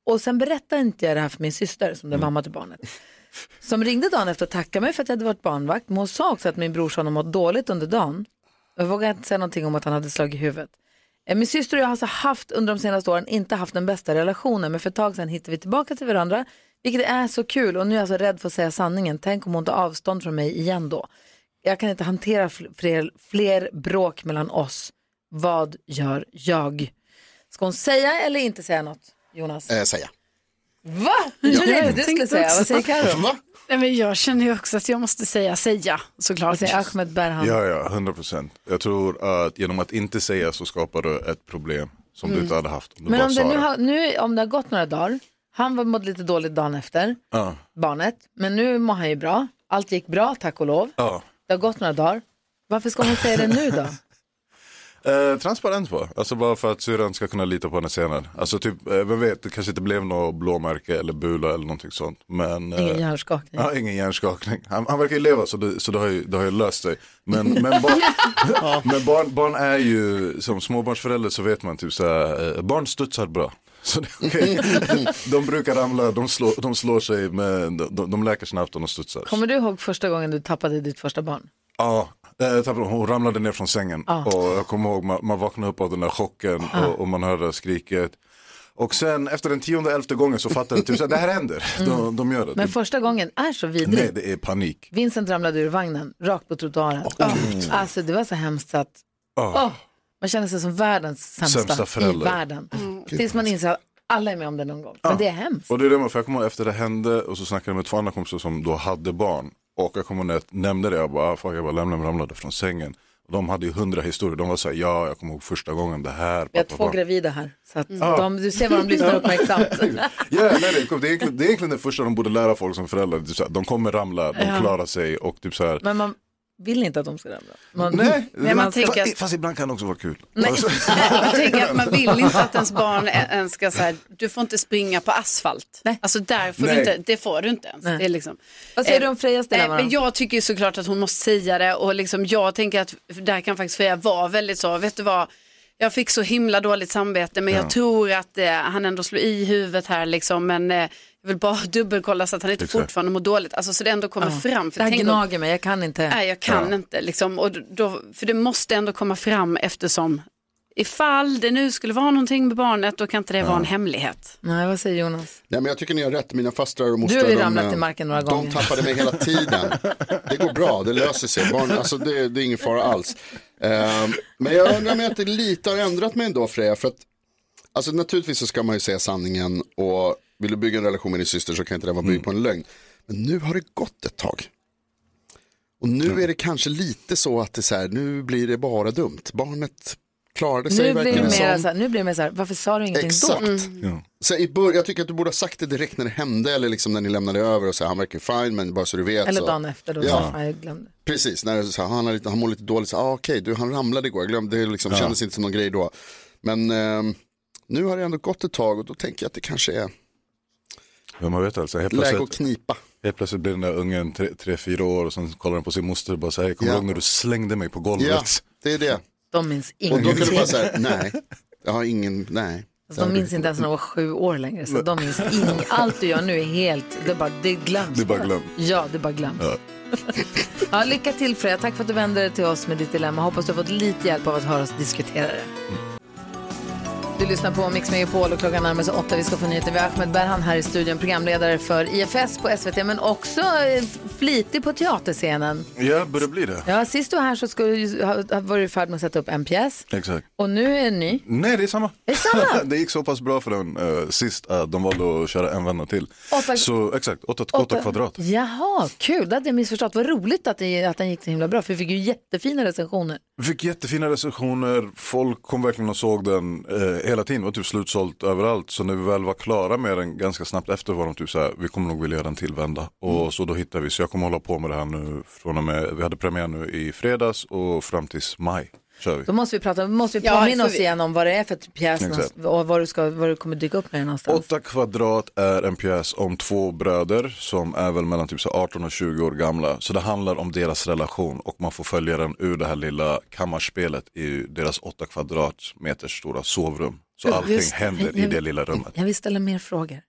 Speaker 1: Och sen berättade inte jag det här för min syster som är mamma till barnet. Som ringde dagen efter och tackade mig för att jag hade varit barnvakt. Men hon sa också att min brorson har mått dåligt under dagen. Jag vågade inte säga någonting om att han hade slagit huvudet. Eh, Min syster och jag har alltså haft under de senaste åren inte haft den bästa relationen men för ett tag sedan hittade vi tillbaka till varandra vilket är så kul och nu är jag så rädd för att säga sanningen. Tänk om hon tar avstånd från mig igen då. Jag kan inte hantera fl- fler, fler bråk mellan oss. Vad gör jag? Ska hon säga eller inte säga något, Jonas?
Speaker 2: Eh, säga.
Speaker 1: Va? Jag trodde inte du skulle säga. Vad säger Carro?
Speaker 6: Nej, men jag känner ju också att jag måste säga säga såklart. Vad
Speaker 1: säger Ahmed Berhan?
Speaker 11: Ja, ja, 100 procent. Jag tror att genom att inte säga så skapar du ett problem som du
Speaker 1: Mm.
Speaker 11: inte hade haft om du
Speaker 1: Men
Speaker 11: bara
Speaker 1: om det,
Speaker 11: sa
Speaker 1: nu
Speaker 11: det.
Speaker 1: har, nu, om det har gått några dagar, han var- mådde lite dåligt dagen efter,
Speaker 11: Ja,
Speaker 1: barnet, men nu mår han ju bra. Allt gick bra, tack och lov.
Speaker 11: ja.
Speaker 1: Det har gått några dagar. Varför ska hon säga det nu då?
Speaker 11: Eh, transparent på, alltså bara för att syrran ska kunna lita på henne senare. Alltså typ, eh, vem vet, det kanske inte blev något blåmärke eller bula eller någonting sånt. Men, eh,
Speaker 1: Ingen hjärnskakning.
Speaker 11: Ja, ingen hjärnskakning. Han, han verkar ju leva så det, så det, har, ju, det har ju löst sig. Men, men, barn, men barn, barn är ju, som småbarnsförälder så vet man typ så här, eh, barn studsar bra. Så det är okej. De brukar ramla, de slår, de slår sig, men de, de läker snabbt och de studsar.
Speaker 1: Kommer du ihåg första gången du tappade ditt första barn?
Speaker 11: Ja, eh, tappade hon. hon ramlade ner från sängen
Speaker 1: Ja.
Speaker 11: och jag kommer ihåg man, man vaknade upp av den där chocken
Speaker 1: Ja.
Speaker 11: och, och man hörde skriket. Och sen efter den tionde, elfte gången så fattade jag typ att det här händer. De, de gör det.
Speaker 1: Mm. Men första gången är så
Speaker 11: det
Speaker 1: vidrig.
Speaker 11: nej, det är panik.
Speaker 1: Vincent ramlade ur vagnen, rakt på trottoaren.
Speaker 11: gud.
Speaker 1: Alltså det var så hemskt så att
Speaker 11: oh. Ja.
Speaker 1: åh, man känner sig som världens sämsta,
Speaker 11: Sämsta
Speaker 1: i
Speaker 11: förälder.
Speaker 1: världen. Tills man inser att alla är med om det någon gång. Men det är hemskt.
Speaker 11: Och det är det man, för jag kommer ihåg efter det hände och så snackade jag med två andra kompisar som då hade barn. Och jag kommer ihåg när jag nämnde det, jag bara, ah, fuck, jag bara lämnade, ramlade från sängen. Och de hade ju hundra historier, de var så här, ja, jag kommer ihåg första gången det här.
Speaker 1: Vi
Speaker 11: pappa,
Speaker 1: har två
Speaker 11: pappa."
Speaker 1: gravida här. Så att
Speaker 11: Ja.
Speaker 1: de, du ser vad de lyssnar uppmärksamt.
Speaker 11: Ja, nej, nej, kom, det, är egentligen, det är egentligen det första de borde lära folk som föräldrar. Typ så här, de kommer ramla, de
Speaker 1: Ja.
Speaker 11: klarar sig och typ så här.
Speaker 1: Men man vill inte att de ska ramla. Man,
Speaker 11: nej,
Speaker 6: Nej, man tänker
Speaker 11: fast,
Speaker 6: att-
Speaker 11: fast ibland kan det också vara kul. Alltså,
Speaker 6: Jag tänker att man vill inte att ens barn ä- ens ska så här, du får inte springa på asfalt. Alltså där får
Speaker 11: Nej.
Speaker 6: du inte, det får du inte ens. Det är liksom,
Speaker 1: Vad säger
Speaker 6: Eh,
Speaker 1: du om Frejas
Speaker 6: nej,
Speaker 1: dilemma
Speaker 6: men
Speaker 1: då?
Speaker 6: Jag tycker ju såklart att hon måste säga det och liksom, jag tänker att där kan faktiskt Freja vara väldigt så, vet du vad, jag fick så himla dåligt samvete men
Speaker 10: Ja.
Speaker 6: jag tror att eh, han ändå slår i huvudet här liksom men eh, Jag vill bara dubbelkolla så att han inte
Speaker 1: Exakt.
Speaker 6: fortfarande mår dåligt. Alltså, så det ändå kommer
Speaker 1: Ja.
Speaker 6: fram.
Speaker 1: Det här
Speaker 6: tänk om-
Speaker 1: gnager mig, jag kan inte.
Speaker 6: Nej, jag kan
Speaker 1: Ja.
Speaker 6: inte. Liksom. Och då, för det måste ändå komma fram eftersom ifall det nu skulle vara någonting med barnet då kan inte det vara en hemlighet.
Speaker 1: Nej, vad säger Jonas?
Speaker 2: Nej, men jag tycker ni har rätt, mina fastrar och
Speaker 1: Du
Speaker 2: mostrar.
Speaker 1: har ju
Speaker 2: de,
Speaker 1: ramlat
Speaker 2: eh,
Speaker 1: i marken några
Speaker 2: De
Speaker 1: gånger.
Speaker 2: tappade mig hela tiden. Det går bra, det löser sig. Barn, alltså det, det är ingen fara alls. Ehm, men jag undrar om jag inte lite har ändrat mig ändå Freja. För att, alltså, naturligtvis så ska man ju säga sanningen och vill du bygga en relation med din syster så kan inte den vara byggd på en lögn. Men nu har det gått ett tag. Och nu är det kanske lite så att det är så här, nu blir det bara dumt. Barnet klarade sig
Speaker 1: Nu blir,
Speaker 2: verkligen
Speaker 1: det mer
Speaker 2: som.
Speaker 1: så här, nu blir det mer så här, varför sa du ingenting
Speaker 2: Exakt. Mm.
Speaker 1: då?
Speaker 2: Så i bör- jag tycker att du borde ha sagt det direkt när det hände eller liksom när ni lämnade över och så här, han verkar fine men bara så du vet.
Speaker 1: Eller
Speaker 2: så.
Speaker 1: dagen efter, då ja.
Speaker 2: Ja.
Speaker 1: fan, jag glömde.
Speaker 2: Precis, när du sa, han, har lite, han mår lite dåligt, så, ah, okej, du, han ramlade igår, jag glömde, det liksom,
Speaker 11: Ja.
Speaker 2: kändes inte som någon grej då. Men ehm, nu har det ändå gått ett tag och då tänker jag att det kanske är
Speaker 11: Ja, man vet alltså, helt
Speaker 2: Läge
Speaker 11: plötsligt,
Speaker 2: att knipa.
Speaker 11: Helt plötsligt blir den där ungen tre, tre, fyra år och sen kollar den på sin moster och bara säger, kommer
Speaker 2: Ja.
Speaker 11: du ihåg när du slängde mig på golvet?
Speaker 2: Ja, det är det.
Speaker 1: De minns
Speaker 2: Och då kan du
Speaker 1: ingenting.
Speaker 2: bara säga, nej, jag har ingen, nej.
Speaker 1: Alltså, de minns inte ens när de var sju år längre. Så de minns ing- Allt du gör nu är helt, det är bara, det glöms.
Speaker 2: Det är bara glömt.
Speaker 1: Ja, det är bara glömt. Ja. lycka till Freja, tack för att du vände dig till oss med ditt dilemma. Hoppas du har fått lite hjälp av att höra oss diskutera det. Du lyssnar på Mix Megapol och klockan närmar sig åtta. Vi ska få nyheter. Vi har Ahmed Berhan här i studion, programledare för IFS på SVT, men också eh, flitig på teaterscenen.
Speaker 11: Ja, börjar bli det.
Speaker 1: Ja, sist du var här så skulle, du- ha- ha- var du i färd med att sätta upp en pjäs
Speaker 11: Exakt.
Speaker 1: och nu är en ny.
Speaker 11: Nej, det är samma.
Speaker 1: Det är samma?
Speaker 11: det gick så pass bra för den eh, sist att de valde att köra en vända till.
Speaker 1: Åtta-
Speaker 11: Så exakt, åtta, åtta, kvadrat.
Speaker 1: Jaha, kul. Det hade jag missförstått. Vad roligt att, det, att den gick så himla bra, för vi fick ju jättefina recensioner.
Speaker 11: Vi Fick jättefina recensioner, folk kom verkligen och såg den eh, hela tiden, det var typ slutsålt överallt. Så när vi väl var klara med den ganska snabbt efter var de typ så här, vi kommer nog vilja göra den tillvända. Och så då hittade vi, så jag kommer hålla på med det här nu från och med, vi hade premiär nu i fredags och fram tills maj kör vi.
Speaker 1: Då måste vi, prata, måste vi
Speaker 6: Ja,
Speaker 1: påminna
Speaker 6: får
Speaker 1: oss
Speaker 6: vi-
Speaker 1: igen om vad det är för pjäs
Speaker 11: Exakt.
Speaker 1: någonstans- och vad du, ska, vad du kommer dyka upp med någonstans.
Speaker 11: Åtta kvadrat är en pjäs om två bröder som är väl mellan typ så 18 och 20 år gamla. Så det handlar om deras relation och man får följa den ur det här lilla kammarspelet i deras åtta kvadratmeter stora sovrum. Så
Speaker 1: Gud,
Speaker 11: allting
Speaker 1: just-
Speaker 11: händer i det lilla rummet.
Speaker 1: Jag vill ställa mer frågor.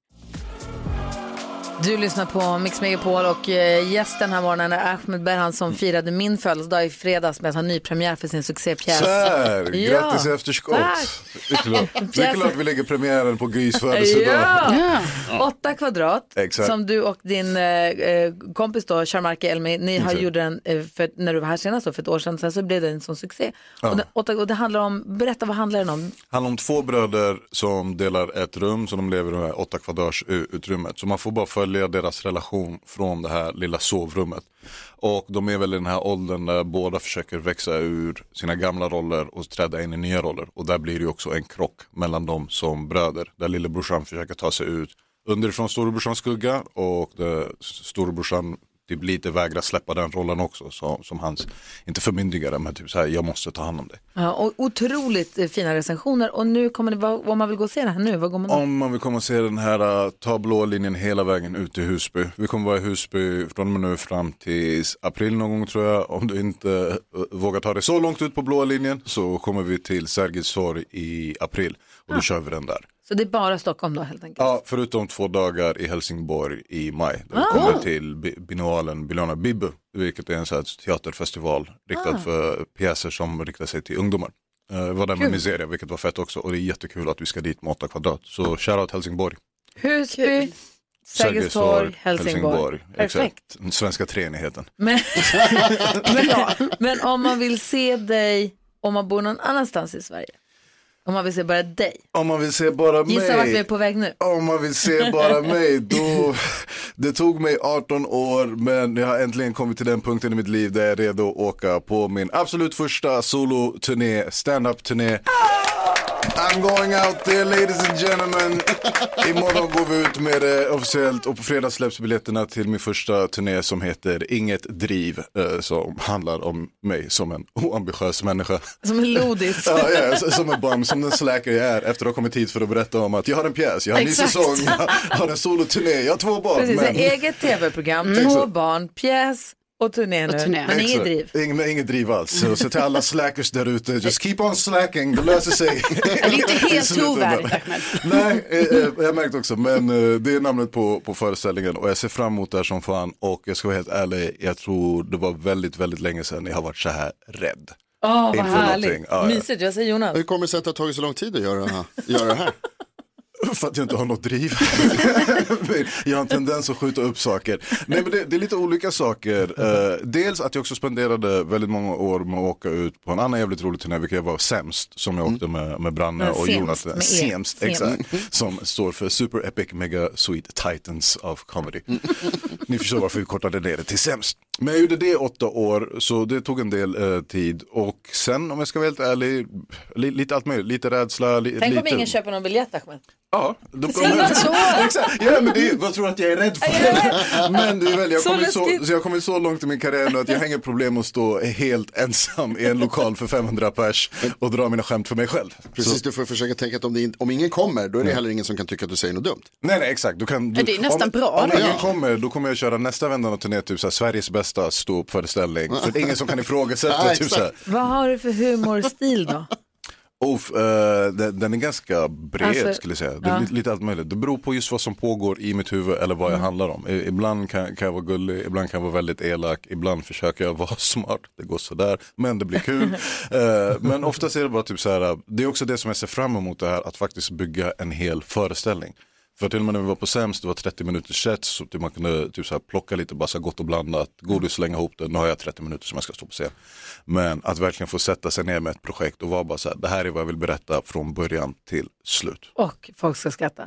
Speaker 1: Du lyssnar på Mix Megapol och eh, gästen här morgonen är Ahmed Berhan
Speaker 11: Mm.
Speaker 1: som firade min födelsedag i fredags med att ha nypremiär för sin succépjäs.
Speaker 11: Så här,
Speaker 1: Ja.
Speaker 11: grattis i efterskott.
Speaker 1: Tack.
Speaker 11: Det är klart, det är klart vi lägger premiären på Gys födelsedag.
Speaker 1: Ja. Åtta kvadrat
Speaker 11: Exakt.
Speaker 1: som du och din eh, eh, kompis då, Sharmarke Elmi, ni har
Speaker 11: Exakt.
Speaker 1: gjort den eh, för, när du var här senast, då, för ett år sedan, sen så blev det en sån succé.
Speaker 11: Ja.
Speaker 1: Och, den, åtta, och det handlar om, berätta vad handlar den om?
Speaker 11: handlar om två bröder som delar ett rum, så de lever i det här åtta kvadrats u- utrymmet. Så man får bara följa deras relation från det här lilla sovrummet. Och de är väl i den här åldern där båda försöker växa ur sina gamla roller och träda in i nya roller. Och där blir det ju också en krock mellan dem som bröder. Där lillebrorsan försöker ta sig ut underifrån storebrorsans skugga och där storebrorsan typ lite vägrar släppa den rollen också som, som hans, inte förmyndigare men typ så här, jag måste ta hand om dig.
Speaker 1: Ja, och otroligt eh, fina recensioner och nu kommer det, vad- om man vill gå och se det här nu, vad går man då?
Speaker 11: Om man vill komma och se den här, eh, ta blå linjen hela vägen ut till Husby. Vi kommer vara i Husby från och med nu fram till april någon gång tror jag. Om du inte eh, vågar ta dig så långt ut på blå linjen så kommer vi till Sergels torg i april.
Speaker 1: Ah.
Speaker 11: Och då kör vi den där.
Speaker 1: Så det är bara Stockholm då helt enkelt.
Speaker 11: Ja, förutom två dagar i Helsingborg i maj. Då
Speaker 1: Ah.
Speaker 11: kommer till bi- biennalen Bilona Bibu, vilket är en sån här teaterfestival riktad
Speaker 1: Ah.
Speaker 11: för pjäser som riktar sig till ungdomar. Eh, var där med
Speaker 1: Kul.
Speaker 11: Miseria, vilket var fett också. Och det är jättekul att vi ska dit med åtta kvadrat. Så shoutout Helsingborg.
Speaker 1: Husby, Sergels torg, Helsingborg. Perfekt.
Speaker 11: Exakt. Den svenska treenigheten.
Speaker 1: Men, men, men om man vill se dig om man bor någon annanstans i Sverige, om man vill se bara dig,
Speaker 11: Om man vill se bara
Speaker 1: gissa vart vi är
Speaker 11: mig.
Speaker 1: på väg nu?
Speaker 11: Om man vill se bara mig, då, det tog mig 18 år men jag har äntligen kommit till den punkten i mitt liv där jag är redo att åka på min absolut första soloturné, stand-up-turné. I'm going out there ladies and gentlemen. Imorgon går vi ut med det officiellt och på fredag släpps biljetterna till min första turné som heter Inget Driv eh, som handlar om mig som en oambitiös människa.
Speaker 1: Som en lodis.
Speaker 11: Ja, ja, så- som en bum, som den slacker jag är efter att ha kommit hit för att berätta om att jag har en pjäs, jag har en ny
Speaker 1: Exakt.
Speaker 11: säsong, jag har en soloturné, jag har två barn.
Speaker 1: Precis,
Speaker 11: men...
Speaker 1: eget tv-program,
Speaker 11: Mm.
Speaker 1: två
Speaker 11: Exakt.
Speaker 1: barn, pjäs, Och turné nu.
Speaker 6: Och turné.
Speaker 1: Men inget
Speaker 11: Exakt.
Speaker 1: driv.
Speaker 11: Ing- men inget driv alls. Så, så till alla slackers där ute, just keep on slacking, det löser sig.
Speaker 6: Det är inte
Speaker 11: I
Speaker 6: helt
Speaker 11: slutändan.
Speaker 6: trovärdigt Ahmed.
Speaker 11: Nej, eh, eh, jag märkte också, men eh, det är namnet på, på föreställningen och jag ser fram emot det här som fan och jag ska vara helt ärlig, jag tror det var väldigt, väldigt länge sedan jag har varit så här rädd.
Speaker 1: Åh, vad
Speaker 11: Inför
Speaker 1: härligt.
Speaker 11: någonting. Ja, ja.
Speaker 1: Mysigt. Vad säger Jonas?
Speaker 2: Hur kommer det sig att det har tagit så lång tid att göra, göra det här?
Speaker 11: För att jag inte har något driv. jag har en tendens att skjuta upp saker. Nej men det, det är lite olika saker. Eh, dels att jag också spenderade väldigt många år med att åka ut på en annan jävligt rolig turné, vilket jag var sämst, som jag åkte med, med Branne
Speaker 10: Mm,
Speaker 11: och
Speaker 10: Sämst,
Speaker 11: Jonas.
Speaker 10: med E.
Speaker 11: Sämst,
Speaker 10: Sämst.
Speaker 11: exakt. Som står för Super Epic Mega Sweet Titans of Comedy. Ni förstår varför vi kortade ner det till sämst. Men jag gjorde det i åtta år, så det tog en del eh, tid. Och sen om jag ska vara helt ärlig, li, lite allt möjligt, lite rädsla, li,
Speaker 1: Tänk om
Speaker 11: lite...
Speaker 1: ingen köper någon biljett, Ahmed.
Speaker 11: Ja, de
Speaker 1: Säg inte så.
Speaker 11: Exakt. Ja, men det, är- vad tror du att jag är rädd för? men det är väl, jag
Speaker 1: Så
Speaker 11: har kommit så,
Speaker 1: läskigt.
Speaker 11: så jag har kommit så långt i min karriär nu att jag har inget problem att stå helt ensam i en lokal för 500 pers och dra mina skämt för mig själv.
Speaker 2: Precis, du får försöka tänka att om, det, in- om ingen kommer, då är det
Speaker 11: Ja.
Speaker 2: heller ingen som kan tycka att du säger något dumt.
Speaker 11: Nej, nej, exakt. Du kan, du,
Speaker 2: Det är nästan
Speaker 11: om,
Speaker 2: bra
Speaker 11: Om
Speaker 2: då.
Speaker 11: ingen
Speaker 2: Ja.
Speaker 11: kommer, då kommer jag köra nästa vända av turné, typ så här, Sveriges bästa ståuppföreställning. För det är ingen som kan ifrågasätta.
Speaker 2: Nej,
Speaker 11: typ så här.
Speaker 1: Vad har du för humorstil då?
Speaker 11: Uff, eh, den, den är ganska bred
Speaker 1: Alltså,
Speaker 11: skulle jag säga. Det är
Speaker 1: ja.
Speaker 11: lite, lite allt möjligt. Det beror på just vad som pågår i mitt huvud eller vad jag handlar om. I- Ibland kan, kan jag vara gullig, ibland kan jag vara väldigt elak, ibland försöker jag vara smart. Det går sådär, men det blir kul. Eh, men oftast är det bara typ så här, det är också det som jag ser fram emot det här, att faktiskt bygga en hel föreställning. För till och med när vi var på sämst, det var 30 minuters set, så typ man kunde typ så här plocka lite bara så här gott och blandat, godis, slänga ihop det, nu har jag 30 minuter som jag ska stå på scen. Men att verkligen få sätta sig ner med ett projekt och vara bara så här, det här är vad jag vill berätta från början till slut.
Speaker 1: Och folk ska skratta.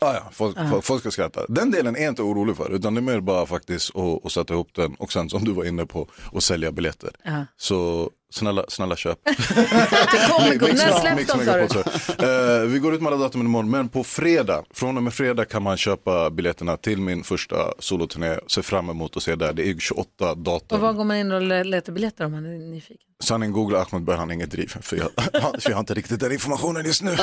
Speaker 11: Ah, ja, folk,
Speaker 1: Ah.
Speaker 11: folk- folk ska skratta. Den delen är jag inte orolig för, utan det är mer bara faktiskt att, att sätta ihop den och sen som du var inne på, att sälja biljetter.
Speaker 1: Ja.
Speaker 11: Så snälla, snälla köp.
Speaker 1: kommer-
Speaker 11: Mix-
Speaker 1: när släpps
Speaker 11: Mix
Speaker 1: de, sa du?
Speaker 11: Megapol, sorry. Eh, vi går ut med alla datumen imorgon, men på fredag, från och med fredag kan man köpa biljetterna till min första soloturné. Ser fram emot att se där, det är 28
Speaker 1: Och
Speaker 11: datum.
Speaker 1: var går man in och le- letar biljetter om man är nyfiken?
Speaker 11: Sanning googla Ahmed Berhan, inget driv, för jag, för jag har inte riktigt den informationen just nu.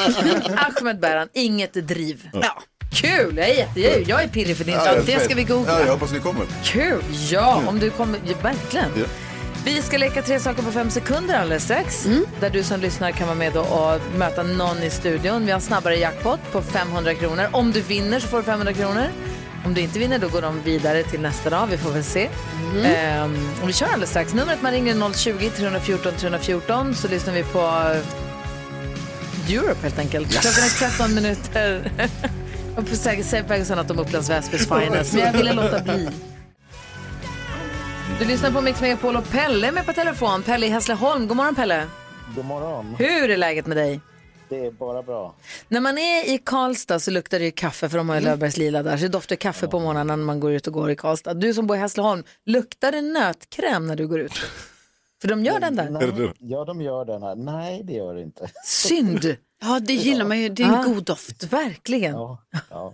Speaker 1: Ahmed Bäran, inget driv.
Speaker 11: Ja.
Speaker 1: Ja. Kul, jag är, jätte, jag är- jag är pirrig för din
Speaker 11: Ja,
Speaker 1: skull. Det ska vi
Speaker 11: Ja, jag
Speaker 1: googla.
Speaker 11: hoppas ni kommer.
Speaker 1: Kul, ja, om du kommer, ja, verkligen.
Speaker 11: Ja.
Speaker 1: Vi ska leka tre saker på fem sekunder alldeles strax. Där du som lyssnar kan vara med då och möta någon i studion. Vi har en snabbare jackpot på 500 kronor. Om du vinner så får du 500 kronor. Om du inte vinner då går de vidare till nästa dag. Vi får väl se.
Speaker 6: Mm.
Speaker 1: Ehm, och vi kör alldeles strax. Numret man ringer är 020-314 314 så lyssnar vi på eh, Europe helt enkelt.
Speaker 6: Yes.
Speaker 1: Klockan är 13 minuter. och på säkert säger Ferguson att de är Upplands Väsbys finest, men jag ville låta bli. Du lyssnar på Mix Megapol och Pelle är med på telefon. Pelle i Hässleholm. God morgon Pelle.
Speaker 13: God morgon.
Speaker 1: Hur är läget med dig?
Speaker 13: Det är bara bra.
Speaker 1: När man är i Karlstad så luktar det ju kaffe för de har ju Löfbergs Lila där. Så det doftar kaffe på morgonen när man går ut och går i Karlstad. Du som bor i Hässleholm, luktar det nötkräm när du går ut? För de gör den där.
Speaker 13: Ja, de gör den här. Nej, det gör det inte.
Speaker 1: Synd.
Speaker 6: Ja, det gillar man ju. Det är en god
Speaker 1: doft. Verkligen.
Speaker 13: Ja.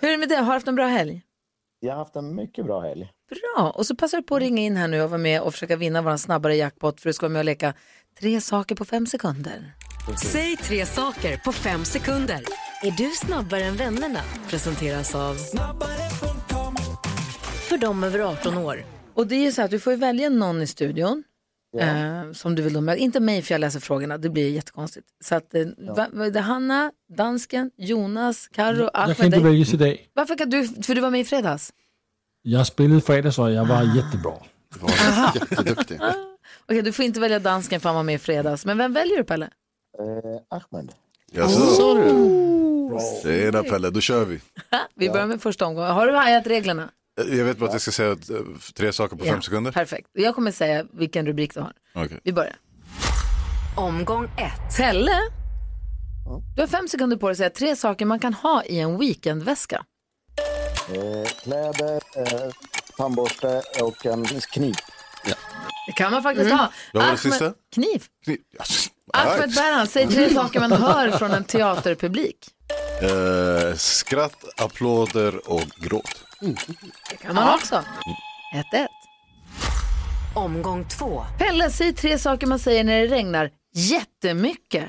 Speaker 1: Hur är det med dig? Har du haft en bra helg?
Speaker 13: Jag har haft en mycket bra helg.
Speaker 1: Bra. Och så passar du på att ringa in här nu och vara med och försöka vinna vår snabbare jackpot för du ska vara med och leka tre saker på fem sekunder.
Speaker 15: Säg tre saker på fem sekunder. Är du snabbare än vännerna? Presenteras av... För dem över 18 år.
Speaker 1: Och det är ju så att du får ju välja någon i studion eh, som du vill då med. Inte mig för jag läser frågorna, det blir jättekonstigt. Så att eh, va- vad är det Hanna, dansken, Jonas, Karo,
Speaker 4: Jag
Speaker 1: Ahmed.
Speaker 4: kan inte
Speaker 1: dig?
Speaker 4: väljas idag.
Speaker 1: Varför kan du, för du var med i fredags.
Speaker 4: Jag spelade i fredags och jag var jättebra.
Speaker 2: Jätteduktig.
Speaker 1: Okej, du får inte välja dansken för han var med i fredags. Men vem väljer du Pelle?
Speaker 13: Eh, Ahmed.
Speaker 11: Jaså? Tjena Pelle, då kör vi.
Speaker 1: Vi börjar med första omgången. Har du hajat reglerna?
Speaker 11: Jag vet bara att jag ska säga eh, tre saker på
Speaker 1: Ja,
Speaker 11: fem sekunder.
Speaker 1: Perfekt. Jag kommer säga vilken rubrik du har.
Speaker 11: Okej.
Speaker 1: Vi börjar. Omgång ett. Pelle, du har fem sekunder på dig att säga tre saker man kan ha i en weekendväska.
Speaker 13: Eh, kläder, eh, tandborste och en kniv.
Speaker 1: Det kan man faktiskt ha.
Speaker 13: Mm. Vad var det
Speaker 1: Ahmed-
Speaker 13: sista?
Speaker 1: Kniv.
Speaker 11: Kniv.
Speaker 1: Ahmed Berhan, säg
Speaker 6: Mm.
Speaker 1: tre saker man hör från en teaterpublik.
Speaker 11: Eh, skratt, applåder och gråt.
Speaker 1: Det kan man också. 1-1. Omgång två. Pelle, säg tre saker man säger när det regnar jättemycket.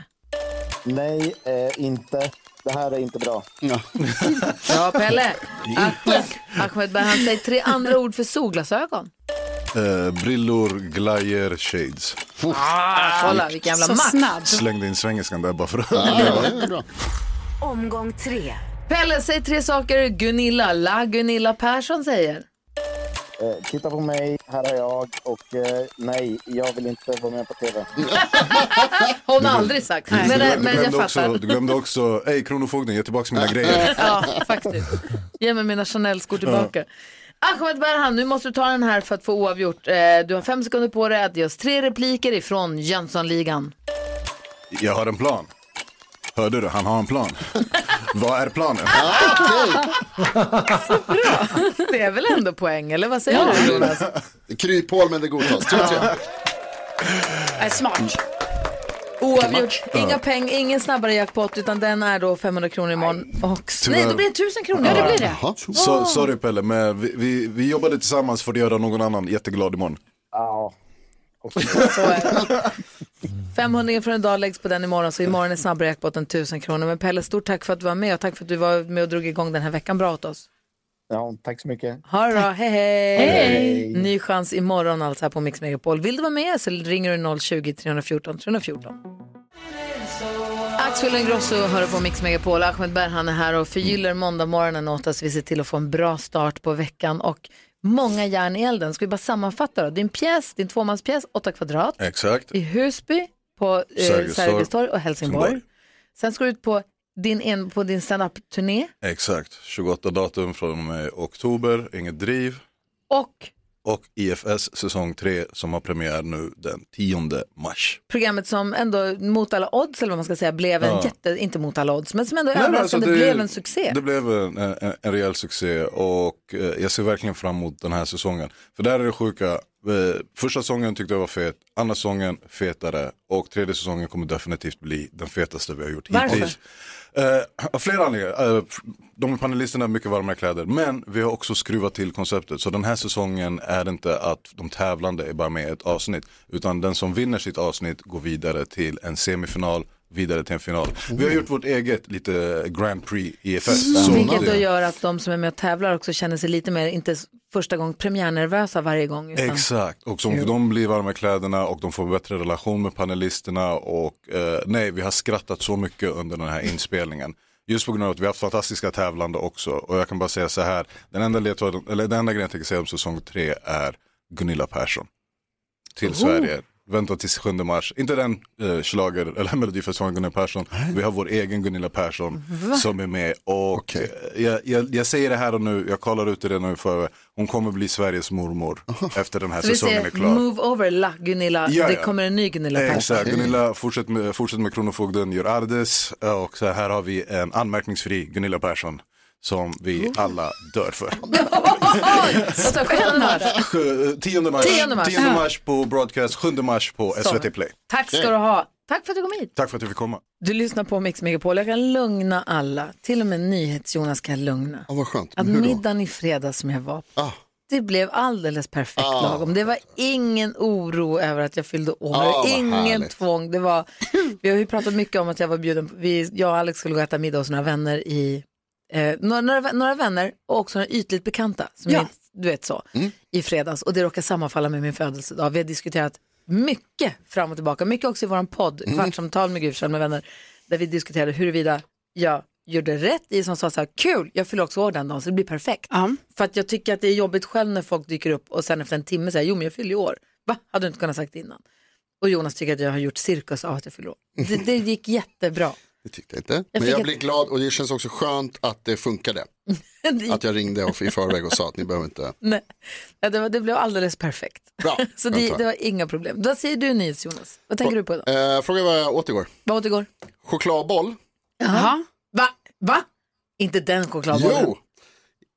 Speaker 13: Nej, eh, inte. Det här är inte bra. Ja.
Speaker 1: Ja, Pelle. Ahmed Berhan, säg tre andra ord för solglasögon.
Speaker 11: Eh, brillor, glajer, shades.
Speaker 1: Ah, kolla, vilken jävla Så match. snabb.
Speaker 11: Slängde in svängelskan där bara för att...
Speaker 15: Omgång tre.
Speaker 1: Pelle, säg tre saker Gunilla, la Gunilla Persson säger.
Speaker 13: Eh, titta på mig, här är jag och eh, nej, jag vill inte vara med på tv.
Speaker 1: Hon har aldrig sagt. Men,
Speaker 11: du,
Speaker 1: men,
Speaker 11: glömde
Speaker 1: jag
Speaker 11: också,
Speaker 1: fattar.
Speaker 11: du glömde också, hej Kronofogden, ge tillbaka mina grejer.
Speaker 1: Eh, ja, faktiskt. Ge mig mina Chanel-skor tillbaka. Ahmed Berhan, nu måste du ta den här för att få oavgjort. Eh, Du har fem sekunder på dig att ge oss tre repliker ifrån Jönssonligan.
Speaker 11: Jag har en plan. Hörde du, han har en plan. Vad är planen?
Speaker 1: Det är väl ändå poäng, eller vad säger du? Jonas?
Speaker 2: Kryphål men det godtas. Tre, tre.
Speaker 1: Är
Speaker 2: Mm.
Speaker 1: smart. Oavgjort. Inga peng, ingen snabbare jackpot, utan den är då 500 kronor imorgon. Och, nej, då blir det 1000 kronor. Ja, det blir det.
Speaker 11: Jaha. So, sorry Pelle, men vi, vi, vi jobbade tillsammans för att göra någon annan jätteglad imorgon.
Speaker 13: Ja.
Speaker 1: 500 från idag läggs på den imorgon, så imorgon är snabbare jackpoten 1000 kronor. Men Pelle, stort tack för att du var med och tack för att du var med och drog igång den här veckan bra åt oss.
Speaker 13: Ja, tack så mycket.
Speaker 1: Ha det bra, hej hej!
Speaker 13: Hej.
Speaker 1: Ny chans imorgon alltså här på Mix Megapol. Vill du vara med så ringer du 020-314 314. Axel Ingrosso hör på Mix Megapol. Ahmed Berhan är här och förgyller måndagmorgonen åt oss. Vi ser till att få en bra start på veckan och många järn i elden. Ska vi bara sammanfatta då? Din pjäs, din tvåmanspjäs, 8 kvadrat,
Speaker 11: Exakt.
Speaker 1: i Husby på eh,
Speaker 11: Sergels
Speaker 1: Sergels
Speaker 11: torg
Speaker 1: torg och Helsingborg. Sen ska du ut på din, en- på din stand-up-turné
Speaker 11: Exakt, 28 datum från och med oktober, inget driv.
Speaker 1: och
Speaker 11: Och IFS säsong 3 som har premiär nu den 10 mars.
Speaker 1: programmet som ändå mot alla odds, eller vad man ska säga, blev en
Speaker 11: Ja.
Speaker 1: jätte, inte mot alla odds, men som ändå
Speaker 11: Nej, men
Speaker 1: överraskande
Speaker 11: alltså,
Speaker 1: blev en succé.
Speaker 11: Det blev en, en, en rejäl succé och eh, jag ser verkligen fram emot den här säsongen. För där är det sjuka, eh, första säsongen tyckte jag var fet, andra säsongen fetare och tredje säsongen kommer definitivt bli den fetaste vi har gjort
Speaker 1: Varför?
Speaker 11: hittills. Eh, av flera anledningar, eh, de panelisterna har mycket varmare kläder men vi har också skruvat till konceptet så den här säsongen är det inte att de tävlande är bara med i ett avsnitt utan den som vinner sitt avsnitt går vidare till en semifinal vidare till en final. Vi har gjort vårt eget lite Grand Prix EFS. Så
Speaker 1: Mm. Vilket då
Speaker 11: det-
Speaker 1: gör att de som är med och tävlar också känner sig lite mer, inte s- första gång premiärnervösa varje gång. Utan
Speaker 11: Exakt, och som
Speaker 1: Jo.
Speaker 11: de blir varma i kläderna och de får bättre relation med panelisterna och eh, nej, vi har skrattat så mycket under den här inspelningen. Just på grund av att vi har haft fantastiska tävlande också och jag kan bara säga så här, den enda, ledtråden, eller den enda grejen jag tänker säga om säsong tre är Gunilla Persson till
Speaker 10: Oh.
Speaker 11: Sverige. Vänta till 7 mars, inte den eh, schlager eller melodifestivalen Gunilla Persson, vi har vår egen Gunilla Persson
Speaker 10: Va?
Speaker 11: som är med och eh, jag, jag, jag säger det här och nu, jag kollar ut det redan nu för hon kommer bli Sveriges mormor efter den här
Speaker 1: Så vi
Speaker 11: säsongen alltså är
Speaker 1: ser
Speaker 11: klar.
Speaker 1: move over, la Gunilla,
Speaker 11: Ja,
Speaker 1: det
Speaker 11: ja.
Speaker 1: kommer en ny Gunilla Persson.
Speaker 11: Exakt, Gunilla fortsätt med, fortsätt med Kronofogden, gör Ardes Eh, och så här har vi en anmärkningsfri Gunilla Persson som vi
Speaker 1: Oh.
Speaker 11: alla dör för.
Speaker 1: Och så sjätte mars.
Speaker 11: 10 eh, mars,
Speaker 1: 10 mars.
Speaker 11: 10 mars på Broadcast, 7 mars på
Speaker 1: Så.
Speaker 11: SVT Play.
Speaker 1: Tack ska du ha. Tack för att du kom hit.
Speaker 11: Tack för att du fick komma.
Speaker 1: Du lyssnar på Mix Megapol. Jag kan lugna alla. Till och med NyhetsJonas kan jag lugna.
Speaker 2: Ja, vad skönt.
Speaker 1: Att
Speaker 2: Men hur då?
Speaker 1: middagen i fredags som jag var på,
Speaker 2: Ah.
Speaker 1: det blev alldeles perfekt
Speaker 2: Ah.
Speaker 1: lagom. Det var ingen oro över att jag fyllde år.
Speaker 2: Ah, vad
Speaker 1: ingen
Speaker 2: härligt.
Speaker 1: tvång. Det var, vi har ju pratat mycket om att jag var bjuden, vi, jag och Alex skulle gå och äta middag hos några vänner i Eh, några, några, några vänner och också några ytligt bekanta, som
Speaker 6: Ja.
Speaker 1: är, du vet så, i fredags. Och det råkar sammanfalla med min födelsedag. Vi har diskuterat mycket fram och tillbaka, mycket också i vår podd, Kvartsamtal med Gud Kjell med vänner, där vi diskuterade huruvida jag gjorde rätt i som sa så här, kul, jag fyller också år den dagen så det blir perfekt. För att jag tycker att det är jobbigt själv när folk dyker upp och sen efter en timme säger, jo men jag fyller ju år. Va, hade du inte kunnat sagt innan? Och Jonas tycker att jag har gjort cirkus av att jag fyller år. Det, det gick jättebra.
Speaker 2: Det tyckte jag inte.
Speaker 1: Jag
Speaker 2: Men
Speaker 1: fick
Speaker 2: jag
Speaker 1: ett-
Speaker 2: blir glad och det känns också skönt att det funkade. Att jag ringde och- i förväg och sa att ni behöver inte.
Speaker 1: Nej, Ja, det, var, det blev alldeles perfekt.
Speaker 2: Bra.
Speaker 1: Så det,
Speaker 2: Vänta.
Speaker 1: det var inga problem. Vad säger du nyhets Jonas? Vad tänker du på idag?
Speaker 2: Eh, fråga vad jag åt igår.
Speaker 1: Vad åt igår?
Speaker 2: Chokladboll.
Speaker 1: Jaha. Va? Va? Inte den chokladbollen?
Speaker 2: Jo.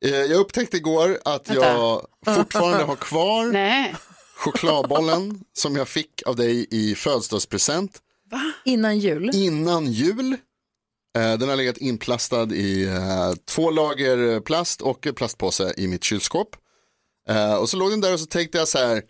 Speaker 2: Eh, jag upptäckte igår att
Speaker 1: Vänta.
Speaker 2: jag fortfarande har kvar chokladbollen som jag fick av dig i födelsedagspresent
Speaker 1: Innan jul?
Speaker 2: innan jul. Eh, Den har legat inplastad i eh, två lager plast och en plastpåse i mitt kylskåp. Eh, Och så låg den där och så tänkte jag så här,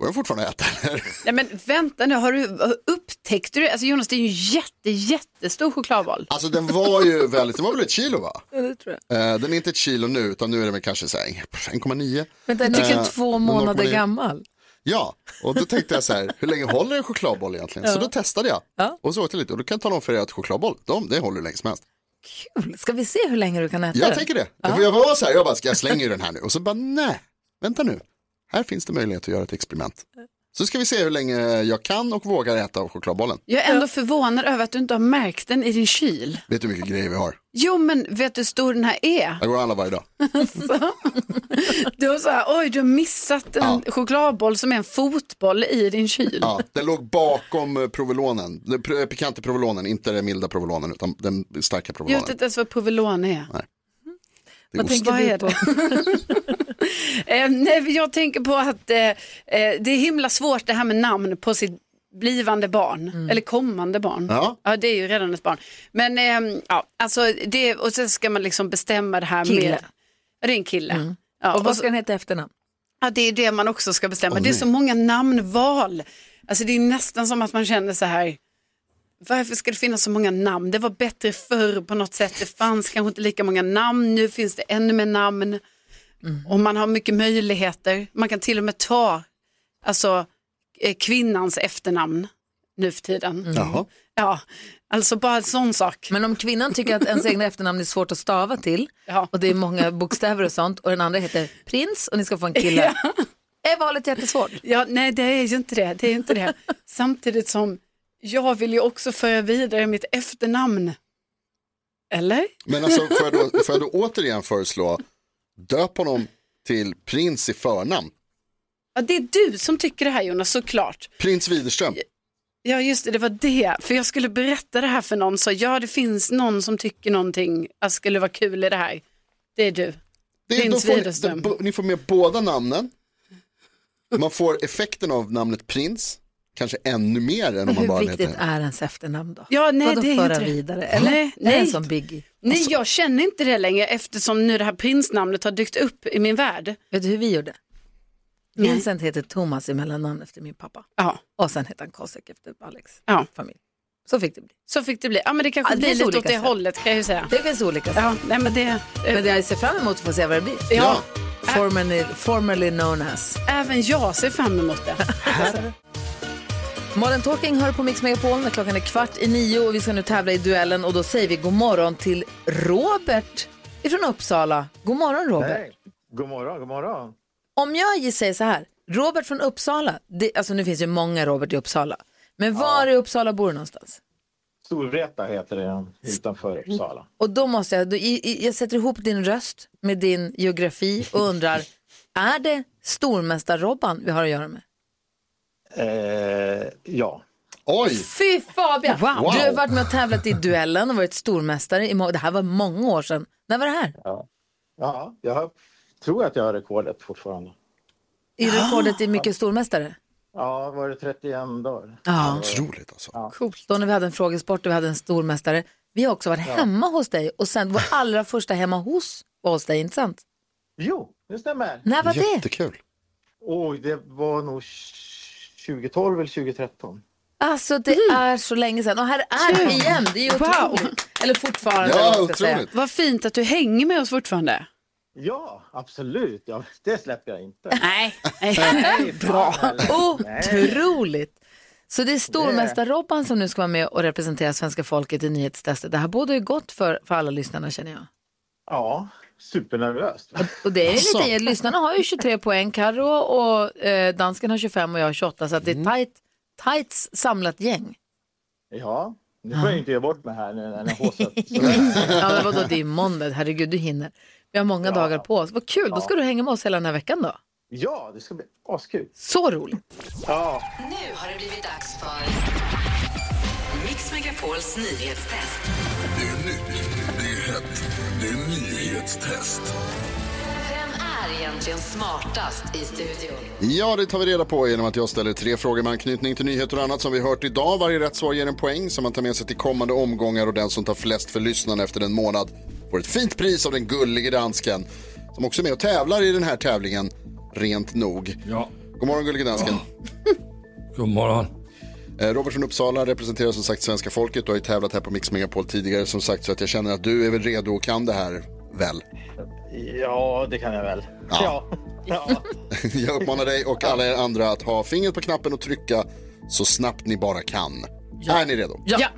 Speaker 2: Går den fortfarande att äta eller?
Speaker 6: Nej men vänta nu, har du upptäckte du? Alltså Jonas, det är ju en jätte, jättestor chokladboll.
Speaker 2: Alltså den var ju väldigt, den var väl ett kilo va?
Speaker 1: Ja, det tror jag.
Speaker 2: Eh, den är inte ett kilo nu utan nu är den väl kanske så här 1,9.
Speaker 1: Vänta, den är
Speaker 2: Eh,
Speaker 1: typ två
Speaker 2: men
Speaker 1: månader
Speaker 2: 0,9.
Speaker 1: gammal.
Speaker 2: Ja, och då tänkte jag så här, hur länge håller en chokladboll egentligen? Så
Speaker 1: Ja.
Speaker 2: då testade jag och så åt jag lite och då kan jag tala om för er att chokladboll, de, det håller hur länge som helst.
Speaker 1: Kul, ska vi se hur länge du kan äta
Speaker 2: Jag
Speaker 1: den?
Speaker 2: tänker det. För jag var så här, jag bara, ska jag slänga ju den här nu? Och så bara, nej, vänta nu. Här finns det möjlighet att göra ett experiment. Så ska vi se hur länge jag kan och vågar äta av chokladbollen.
Speaker 6: Jag är ändå förvånad över att du inte har märkt den i din kyl.
Speaker 2: Vet du hur mycket grejer vi har?
Speaker 6: Jo, men vet du hur stor den här är?
Speaker 2: Jag går och handlar varje dag.
Speaker 6: Du har så här, oj, du har missat en chokladboll som är en fotboll i din kyl.
Speaker 2: Ja, den låg bakom eh, provolonen, den pr- pikanta provolonen, inte den milda provolonen utan den starka
Speaker 6: Jag vet
Speaker 2: provolonen.
Speaker 6: inte ens vad provolone är.
Speaker 2: Det är ost.
Speaker 6: Vad är det? eh, nej, jag tänker på att eh, eh, det är himla svårt det här med namn på sitt blivande barn,
Speaker 1: Mm.
Speaker 6: eller kommande barn.
Speaker 2: Ja.
Speaker 6: det är ju redan ett barn. Men ehm, ja, alltså det, och sen ska man liksom bestämma det här
Speaker 1: Kille. Mm.
Speaker 6: med... Ja, det är en kille. Ja,
Speaker 1: Och vad
Speaker 6: så-
Speaker 1: ska den heta i efternamn?
Speaker 6: Ja, det är det man också ska bestämma.
Speaker 1: Åh,
Speaker 6: det är
Speaker 1: nej.
Speaker 6: så många namnval. Alltså det är nästan som att man känner så här, varför ska det finnas så många namn? Det var bättre förr på något sätt. Det fanns kanske inte lika många namn, nu finns det ännu mer namn.
Speaker 1: Mm.
Speaker 6: Och man har mycket möjligheter. Man kan till och med ta alltså, eh, kvinnans efternamn nu för tiden.
Speaker 2: Jaha.
Speaker 6: Ja, alltså bara en sån sak.
Speaker 1: Mm. Men om kvinnan tycker att ens egna efternamn är svårt att stava till och det är många bokstäver och sånt och den andra heter prins och ni ska få en kille. Är valet jättesvårt?
Speaker 6: Ja, nej det är ju inte det. det, är ju inte det. Samtidigt som jag vill ju också föra vidare mitt efternamn. Eller?
Speaker 2: Men alltså, får jag, då, får jag då återigen föreslå, döp honom till prins i förnamn.
Speaker 6: Ja, det är du som tycker det här Jonas, såklart.
Speaker 2: Prins Widerström.
Speaker 6: Ja just det, det var det. För jag skulle berätta det här för någon, så ja det finns någon som tycker någonting, att skulle vara kul i det här. Det är du.
Speaker 2: Det är, då
Speaker 6: Prins
Speaker 2: får ni,
Speaker 6: Widerström.
Speaker 2: då, bo- ni får med båda namnen. Man får effekten av namnet prins, kanske ännu mer än om man
Speaker 1: Hur
Speaker 2: bara
Speaker 1: viktigt
Speaker 2: heter.
Speaker 1: är ens efternamn då?
Speaker 6: Ja,
Speaker 2: Alltså-
Speaker 6: nej,
Speaker 1: Vadå
Speaker 6: det är ju
Speaker 1: föra
Speaker 6: inte det.
Speaker 1: vidare? Eller?
Speaker 6: Nej,
Speaker 1: Är det
Speaker 6: nej.
Speaker 1: som Biggie?
Speaker 6: Nej, jag känner inte det längre eftersom nu det här prinsnamnet har dykt upp i min värld. Mm.
Speaker 1: Vet du hur vi gjorde? Vincent heter Thomas i mellannamn efter min pappa.
Speaker 6: Ja.
Speaker 1: Och sen heter han Kosek efter Alex
Speaker 6: ja.
Speaker 1: familj. Så fick det bli.
Speaker 6: Så fick det bli. Ja, men det kanske
Speaker 1: Ja, det
Speaker 6: blir
Speaker 1: finns
Speaker 6: lite åt
Speaker 1: olika
Speaker 6: det
Speaker 1: sätt.
Speaker 6: hållet kan jag ju säga.
Speaker 1: Det finns olika
Speaker 6: Ja, nej, men det...
Speaker 1: Men det jag ser fram emot att få se vad det blir.
Speaker 6: Ja.
Speaker 1: Formerly, formerly known as.
Speaker 6: Även jag ser fram emot det.
Speaker 1: Modern Talking hör på Mix Megapol när klockan är kvart i nio och vi ska nu tävla i duellen och då säger vi god morgon till Robert ifrån Uppsala. God morgon Robert.
Speaker 10: Hej. God morgon, god morgon.
Speaker 1: Om jag gi- säger så här, Robert från Uppsala, det, alltså nu finns ju många Robert i Uppsala, men var i Uppsala bor du någonstans?
Speaker 10: Storvreta heter den utanför
Speaker 1: Mm.
Speaker 10: Uppsala.
Speaker 1: Och då måste jag, då, i, i, jag sätter ihop din röst med din geografi och undrar, är det stormästar-Robban vi har att göra med?
Speaker 10: Eh, ja.
Speaker 2: Oj!
Speaker 1: Fy Fabian!
Speaker 10: Wow.
Speaker 1: Du har varit med och tävlat i duellen och varit stormästare. i må- Det här var många år sedan. När var det här?
Speaker 10: Ja, ja jag har, tror att jag har rekordet fortfarande.
Speaker 1: I rekordet i mycket stormästare?
Speaker 10: Ja, var det 31 dagar?
Speaker 1: Ja.
Speaker 2: Otroligt alltså.
Speaker 1: Coolt. Då när vi hade en frågesport och vi hade en stormästare. Vi har också varit
Speaker 10: Ja.
Speaker 1: hemma hos dig och sen vår allra första hemma hos var hos dig, inte sant?
Speaker 10: Jo, det stämmer.
Speaker 1: När var det?
Speaker 2: Jättekul.
Speaker 10: Oj, det var nog 2012 eller 2013.
Speaker 1: Alltså det är så länge sedan och här är
Speaker 6: Kul.
Speaker 1: vi igen. Det är ju
Speaker 6: Wow.
Speaker 1: otroligt. Eller fortfarande.
Speaker 10: Ja,
Speaker 1: eller vad jag ska
Speaker 10: otroligt.
Speaker 6: Vad fint att du hänger med oss fortfarande.
Speaker 10: Ja, absolut. Ja, det släpper jag inte.
Speaker 6: Nej.
Speaker 1: Bra.
Speaker 10: Nej.
Speaker 1: Otroligt. Så det är stormästar-Robban som nu ska vara med och representera svenska folket i nyhetstestet. Det här borde ju gott för, för alla lyssnarna känner jag.
Speaker 10: Ja, supernervöst.
Speaker 1: Och det är
Speaker 10: Alltså.
Speaker 1: lite, lyssnarna har ju 23 poäng, Karo och eh, dansken har 25 och jag har 28, så att det
Speaker 10: Mm.
Speaker 1: är tajt, tajts samlat gäng.
Speaker 10: Ja, nu får jag ju inte ge bort mig här när när den haussar upp.
Speaker 1: ja, men vadå, det är måndag, herregud, du hinner. Vi har många dagar på oss. Vad kul, då ska
Speaker 10: Ja.
Speaker 1: du hänga med oss hela den här veckan då.
Speaker 10: Ja, det ska bli askul.
Speaker 1: Så roligt.
Speaker 10: Ja.
Speaker 15: Nu har det blivit dags för Mix Megapols nyhetstest.
Speaker 16: Det är nytt, det är hett, det är nyhetstest.
Speaker 15: Vem är egentligen smartast i studion?
Speaker 2: Ja, det tar vi reda på genom att jag ställer tre frågor med anknytning till nyheter och annat som vi hört idag. Varje rätt svar ger en poäng som man tar med sig till kommande omgångar och den som tar flest för lyssnarna efter en månad får ett fint pris av den gullige dansken som också är med och tävlar i den här tävlingen, rent nog.
Speaker 4: Ja.
Speaker 2: God morgon gullige dansken.
Speaker 4: God morgon.
Speaker 2: Eh, Robert från Uppsala representerar som sagt svenska folket och har ju tävlat här på Mix Megapol tidigare som sagt så att jag känner att du är väl redo och kan det här väl?
Speaker 10: Ja, det kan jag väl.
Speaker 2: Ja. jag uppmanar dig och alla er andra att ha fingret på knappen och trycka så snabbt ni bara kan. Är ni redo?
Speaker 1: Ja.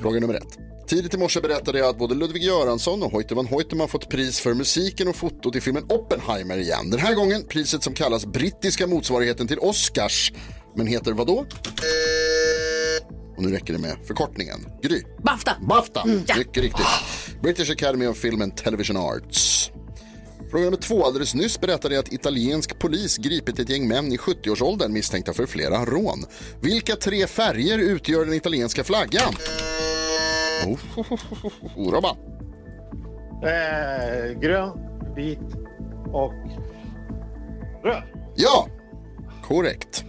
Speaker 2: Fråga nummer ett. Tidigt i morse berättade jag att både Ludwig Göransson och Hoyte van Hoytema fått pris för musiken och fotot i filmen Oppenheimer igen. Den här gången priset som kallas brittiska motsvarigheten till Oscars, men heter vad då? Och nu räcker det med förkortningen. Gry.
Speaker 1: Bafta.
Speaker 2: Bafta.
Speaker 1: Mm, ja.
Speaker 2: Mycket riktigt. British Academy of Film and Television Arts. Fråga nummer två. Alldeles nyss berättade jag att italiensk polis gripit ett gäng män i 70-årsåldern misstänkta för flera rån. Vilka tre färger utgör den italienska flaggan? Oh, oh, oh, oh, oh, Robban.
Speaker 10: Eh, grön, vit och röd.
Speaker 2: Ja, korrekt.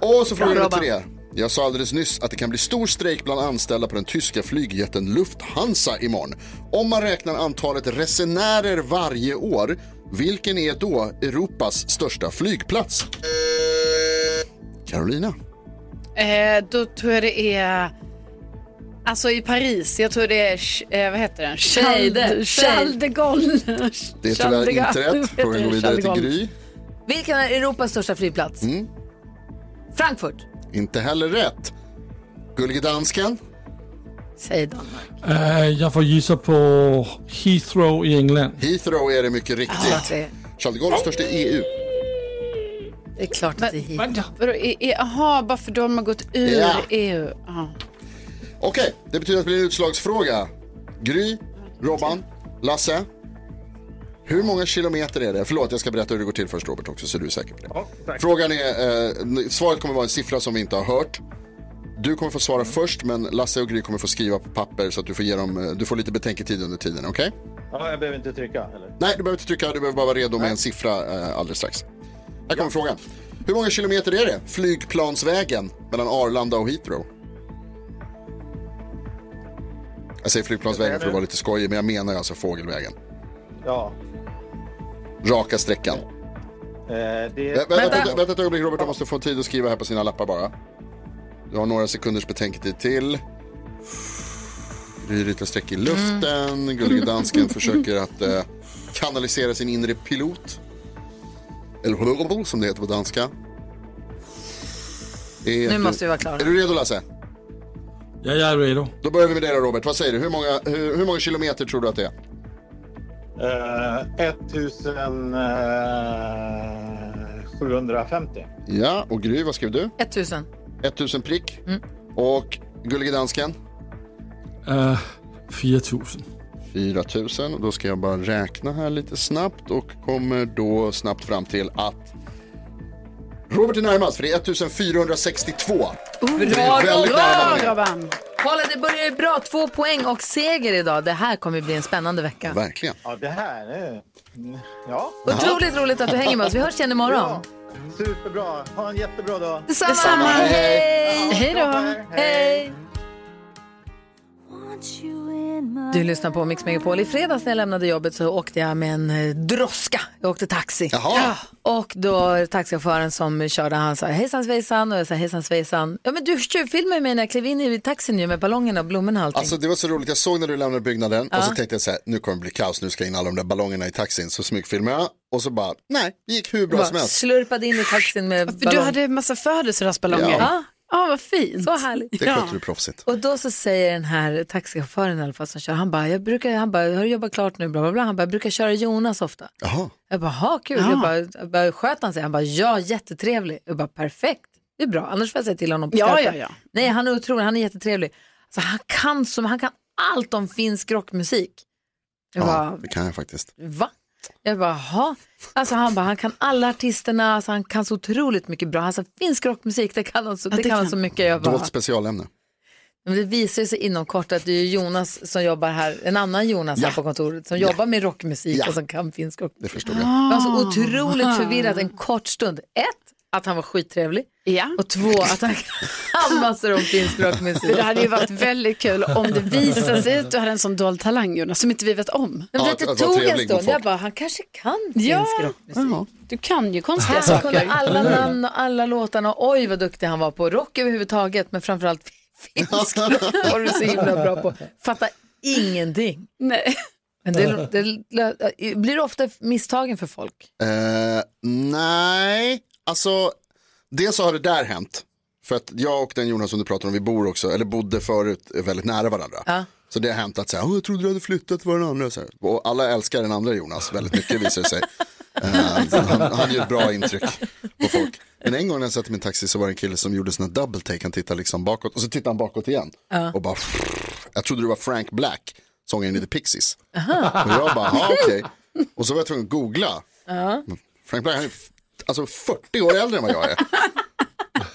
Speaker 2: Och så fråga
Speaker 10: Bra,
Speaker 2: nummer
Speaker 10: Robban.
Speaker 2: tre. Jag sa alldeles nyss att det kan bli stor strejk bland anställda på den tyska flygjätten Lufthansa imorgon. Om man räknar antalet resenärer varje år, vilken är då Europas största flygplats? Carolina.
Speaker 6: Eh, då tror jag det är... Alltså i Paris, jag tror det är... ch- Eh, vad heter den?
Speaker 1: Shade.
Speaker 6: Charles de Gaulle.
Speaker 2: Det är tyvärr
Speaker 1: Chandigarh.
Speaker 2: inte rätt. Frågan går vidare till Gry.
Speaker 1: Vilken är Europas största flygplats?
Speaker 2: Mm.
Speaker 1: Frankfurt.
Speaker 2: Inte heller rätt. Gullige dansken.
Speaker 1: Säg Danmark.
Speaker 4: Eh, jag får gissa på Heathrow i England.
Speaker 2: Heathrow är det mycket
Speaker 1: Ja,
Speaker 2: riktigt.
Speaker 1: det-
Speaker 2: Charles de E Gaulle är störst i EU.
Speaker 1: Det är klart att det är hit.
Speaker 6: Vadå, i- i- Jaha, bara för de har gått ur E Ah.
Speaker 2: Ja.
Speaker 6: EU. Ja.
Speaker 2: Okej, det betyder att det blir en utslagsfråga. Gry, Robban, Lasse. Hur många kilometer är det? Förlåt, jag ska berätta hur det går till först Robert också så du är säker på det. Frågan är, eh, svaret kommer vara en siffra som vi inte har hört. Du kommer få svara först men Lasse och Gry kommer få skriva på papper så att du får, ge dem, eh, du får lite betänketid under tiden, okej?
Speaker 10: Ja, jag behöver inte trycka eller?
Speaker 2: Nej, du behöver inte trycka, du behöver bara vara redo med en siffra eh, alldeles strax. Här kommer frågan. Hur många kilometer är det flygplansvägen mellan Arlanda och Heathrow? Jag säger flygplansvägen för att vara lite skojig, men jag menar ju alltså fågelvägen.
Speaker 10: Ja.
Speaker 2: Raka sträckan.
Speaker 10: Eh, det...
Speaker 2: Vä- Vänta, vänta, vänta ett ögonblick Robert, jag måste få tid att skriva här på sina lappar bara. Du har några sekunders betänketid till. Gry ritar streck i luften.
Speaker 1: Mm.
Speaker 2: Gullige dansken försöker att eh, kanalisera sin inre pilot. Eller blablabla, som det heter på danska. Är
Speaker 1: Nu måste vi vara klara.
Speaker 2: Är du redo Lasse?
Speaker 4: Ja, jag är redo.
Speaker 2: Då börjar vi med dig då Robert. Vad säger du? Hur många, hur, hur många kilometer tror du att det är?
Speaker 10: Eh, 1750.
Speaker 2: Ja, och Gry, vad skrev du?
Speaker 1: 1000.
Speaker 2: 1000 prick. Och Gullige dansken?
Speaker 4: Eh, 4000.
Speaker 2: 4 000 och då ska jag bara räkna här lite snabbt och kommer då snabbt fram till att Robert är närmast för det är 1462. Det är väldigt nära varandra.
Speaker 6: Robban.
Speaker 1: Kolla, det börjar ju bra. Två poäng och seger idag. Det här kommer ju bli en spännande vecka.
Speaker 2: Verkligen.
Speaker 10: Ja, det här är... Mm, Ja.
Speaker 1: Otroligt roligt att du hänger med oss. Vi hörs igen imorgon.
Speaker 10: Ja, superbra. Ha en jättebra dag.
Speaker 1: Detsamma. Detsamma. Hej. Hej då. Hej. Du lyssnar på Mix Megapol. I fredags när jag lämnade jobbet så åkte jag med en eh, droska. Jag åkte taxi.
Speaker 2: Jaha.
Speaker 1: Och då taxichauffören som körde han sa hejsan svejsan och jag sa hejsan svejsan. Ja men du tjuvfilmade mig när jag klev in i taxin ju med ballongerna och blommorna och allting.
Speaker 2: Alltså det var så roligt, jag såg när du lämnade byggnaden och så
Speaker 1: Ja.
Speaker 2: tänkte jag så här, nu kommer det bli kaos, nu ska jag in alla de där ballongerna i taxin, så smygfilmade jag och så bara, nej, det gick hur bra
Speaker 1: Bara
Speaker 2: som helst.
Speaker 1: Slurpade in i taxin med ballong.
Speaker 6: Du hade en massa födelsedagsballonger.
Speaker 2: Ja.
Speaker 1: Ja.
Speaker 6: Ja, vad fint.
Speaker 1: Så härligt.
Speaker 2: Det skötte du proffsigt.
Speaker 1: Och då så säger den här taxichauffören i alla fall som kör, han bara, jag brukar, han bara, har du jobbat klart nu? Bla, bla, bla. Han bara, jag brukar köra Jonas ofta.
Speaker 2: Jaha.
Speaker 1: Jag bara, ha kul.
Speaker 6: Ja.
Speaker 1: Jag bara, jag bara, sköt han sig? Han bara, ja, jättetrevlig. Jag bara, perfekt. Det är bra, annars får jag säga till honom på
Speaker 6: Ja,
Speaker 1: skarpen."
Speaker 6: ja, ja.
Speaker 1: Nej, han är otrolig, han är jättetrevlig. Alltså, han, kan som, han kan allt om finsk rockmusik. Jag bara,
Speaker 2: Ja, det kan jag faktiskt.
Speaker 1: va? Jag bara, ha. Alltså han bara, han kan alla artisterna, alltså, han kan så otroligt mycket bra. Alltså finsk rockmusik, det kan han så, det kan han så mycket. Jag bara,
Speaker 2: Dolt specialämne.
Speaker 1: men det visar sig inom kort att det är Jonas som jobbar här, en annan Jonas här på kontoret som jobbar med rockmusik och som kan finsk rock.
Speaker 6: Ah.
Speaker 2: Det förstår
Speaker 1: jag. var så otroligt förvirrad en kort stund. Ett, att han var skittrevlig.
Speaker 6: Ja.
Speaker 1: Och två, att han kan massor om finskspråkig musik.
Speaker 6: Det hade ju varit väldigt kul om det visade sig att du hade en sån dold talang Jonas, som inte vi vet om.
Speaker 1: Men vet, det tog en stund, jag bara, han kanske kan
Speaker 6: Ja, Mm.
Speaker 1: finsk rockmusik.
Speaker 6: ja. du kan ju konstiga
Speaker 1: Han
Speaker 6: saker.
Speaker 1: Alltså, kunde alla namn och alla låtarna och oj vad duktig han var på rock överhuvudtaget men framförallt finsk var du så himla bra på. Fatta ingenting.
Speaker 6: Nej.
Speaker 1: Men det, det, blir det ofta misstagen för folk?
Speaker 2: Eh, nej, alltså dels så har det där hänt. För att jag och den Jonas som du pratar om, vi bor också, eller bodde förut eh, väldigt nära varandra. Så det har hänt att så här, "Åh, jag trodde du hade flyttat var den andra. Så här. Och alla älskar den andra Jonas väldigt mycket visar det sig. Eh, han, han gör ett bra intryck på folk. Men en gång när jag satt i min taxi så var det en kille som gjorde sån här double take, han tittade liksom bakåt och så tittade han bakåt igen.
Speaker 1: Ja.
Speaker 2: Och bara, jag trodde du var Frank Black, sångaren i The Pixies.
Speaker 1: Aha.
Speaker 2: Och jag bara, "Ja, okej. Och så var jag tvungen att googla
Speaker 1: Ja.
Speaker 2: Frank Black, han är f- alltså 40 år äldre än vad jag är.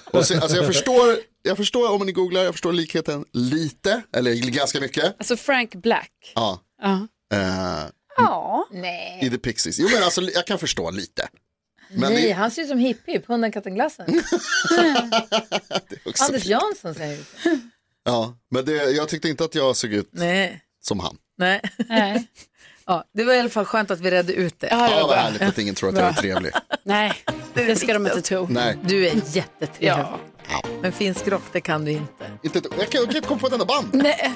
Speaker 2: Och så, alltså jag, förstår, jag förstår, om ni googlar, jag förstår likheten lite, eller ganska mycket.
Speaker 6: Alltså Frank Black.
Speaker 2: Ja.
Speaker 6: Ja.
Speaker 2: Eh,
Speaker 1: Ja. Nej.
Speaker 2: I The Pixies. Jo men alltså jag kan förstå lite. Men
Speaker 1: Nej,
Speaker 2: det är
Speaker 1: han ser ut som hippie, hunden, katten, glassen.
Speaker 2: också...
Speaker 1: Anders Jansson säger det.
Speaker 2: Ja, men det, jag tyckte inte att jag såg ut
Speaker 1: Nej.
Speaker 2: som han.
Speaker 1: Nej. Nej. ja, det var i alla fall skönt att vi redde ut det.
Speaker 2: Ja, vad härligt att ingen tror att jag är
Speaker 1: Bra.
Speaker 2: trevlig.
Speaker 6: Nej, det ska de inte tro.
Speaker 2: Nej.
Speaker 1: Du är jättetrevlig. Men finsk rock, det kan du inte.
Speaker 2: Inte, ett- jag kan jag kan inte komma på ett enda band.
Speaker 1: Nej.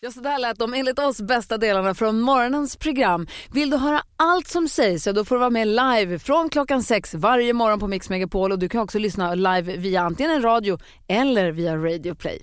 Speaker 1: Ja, så där lät de enligt oss bästa delarna från morgonens program. Vill du höra allt som sägs så då får du vara med live från klockan sex varje morgon på Mix Megapol och du kan också lyssna live via antingen en radio eller via Radio Play.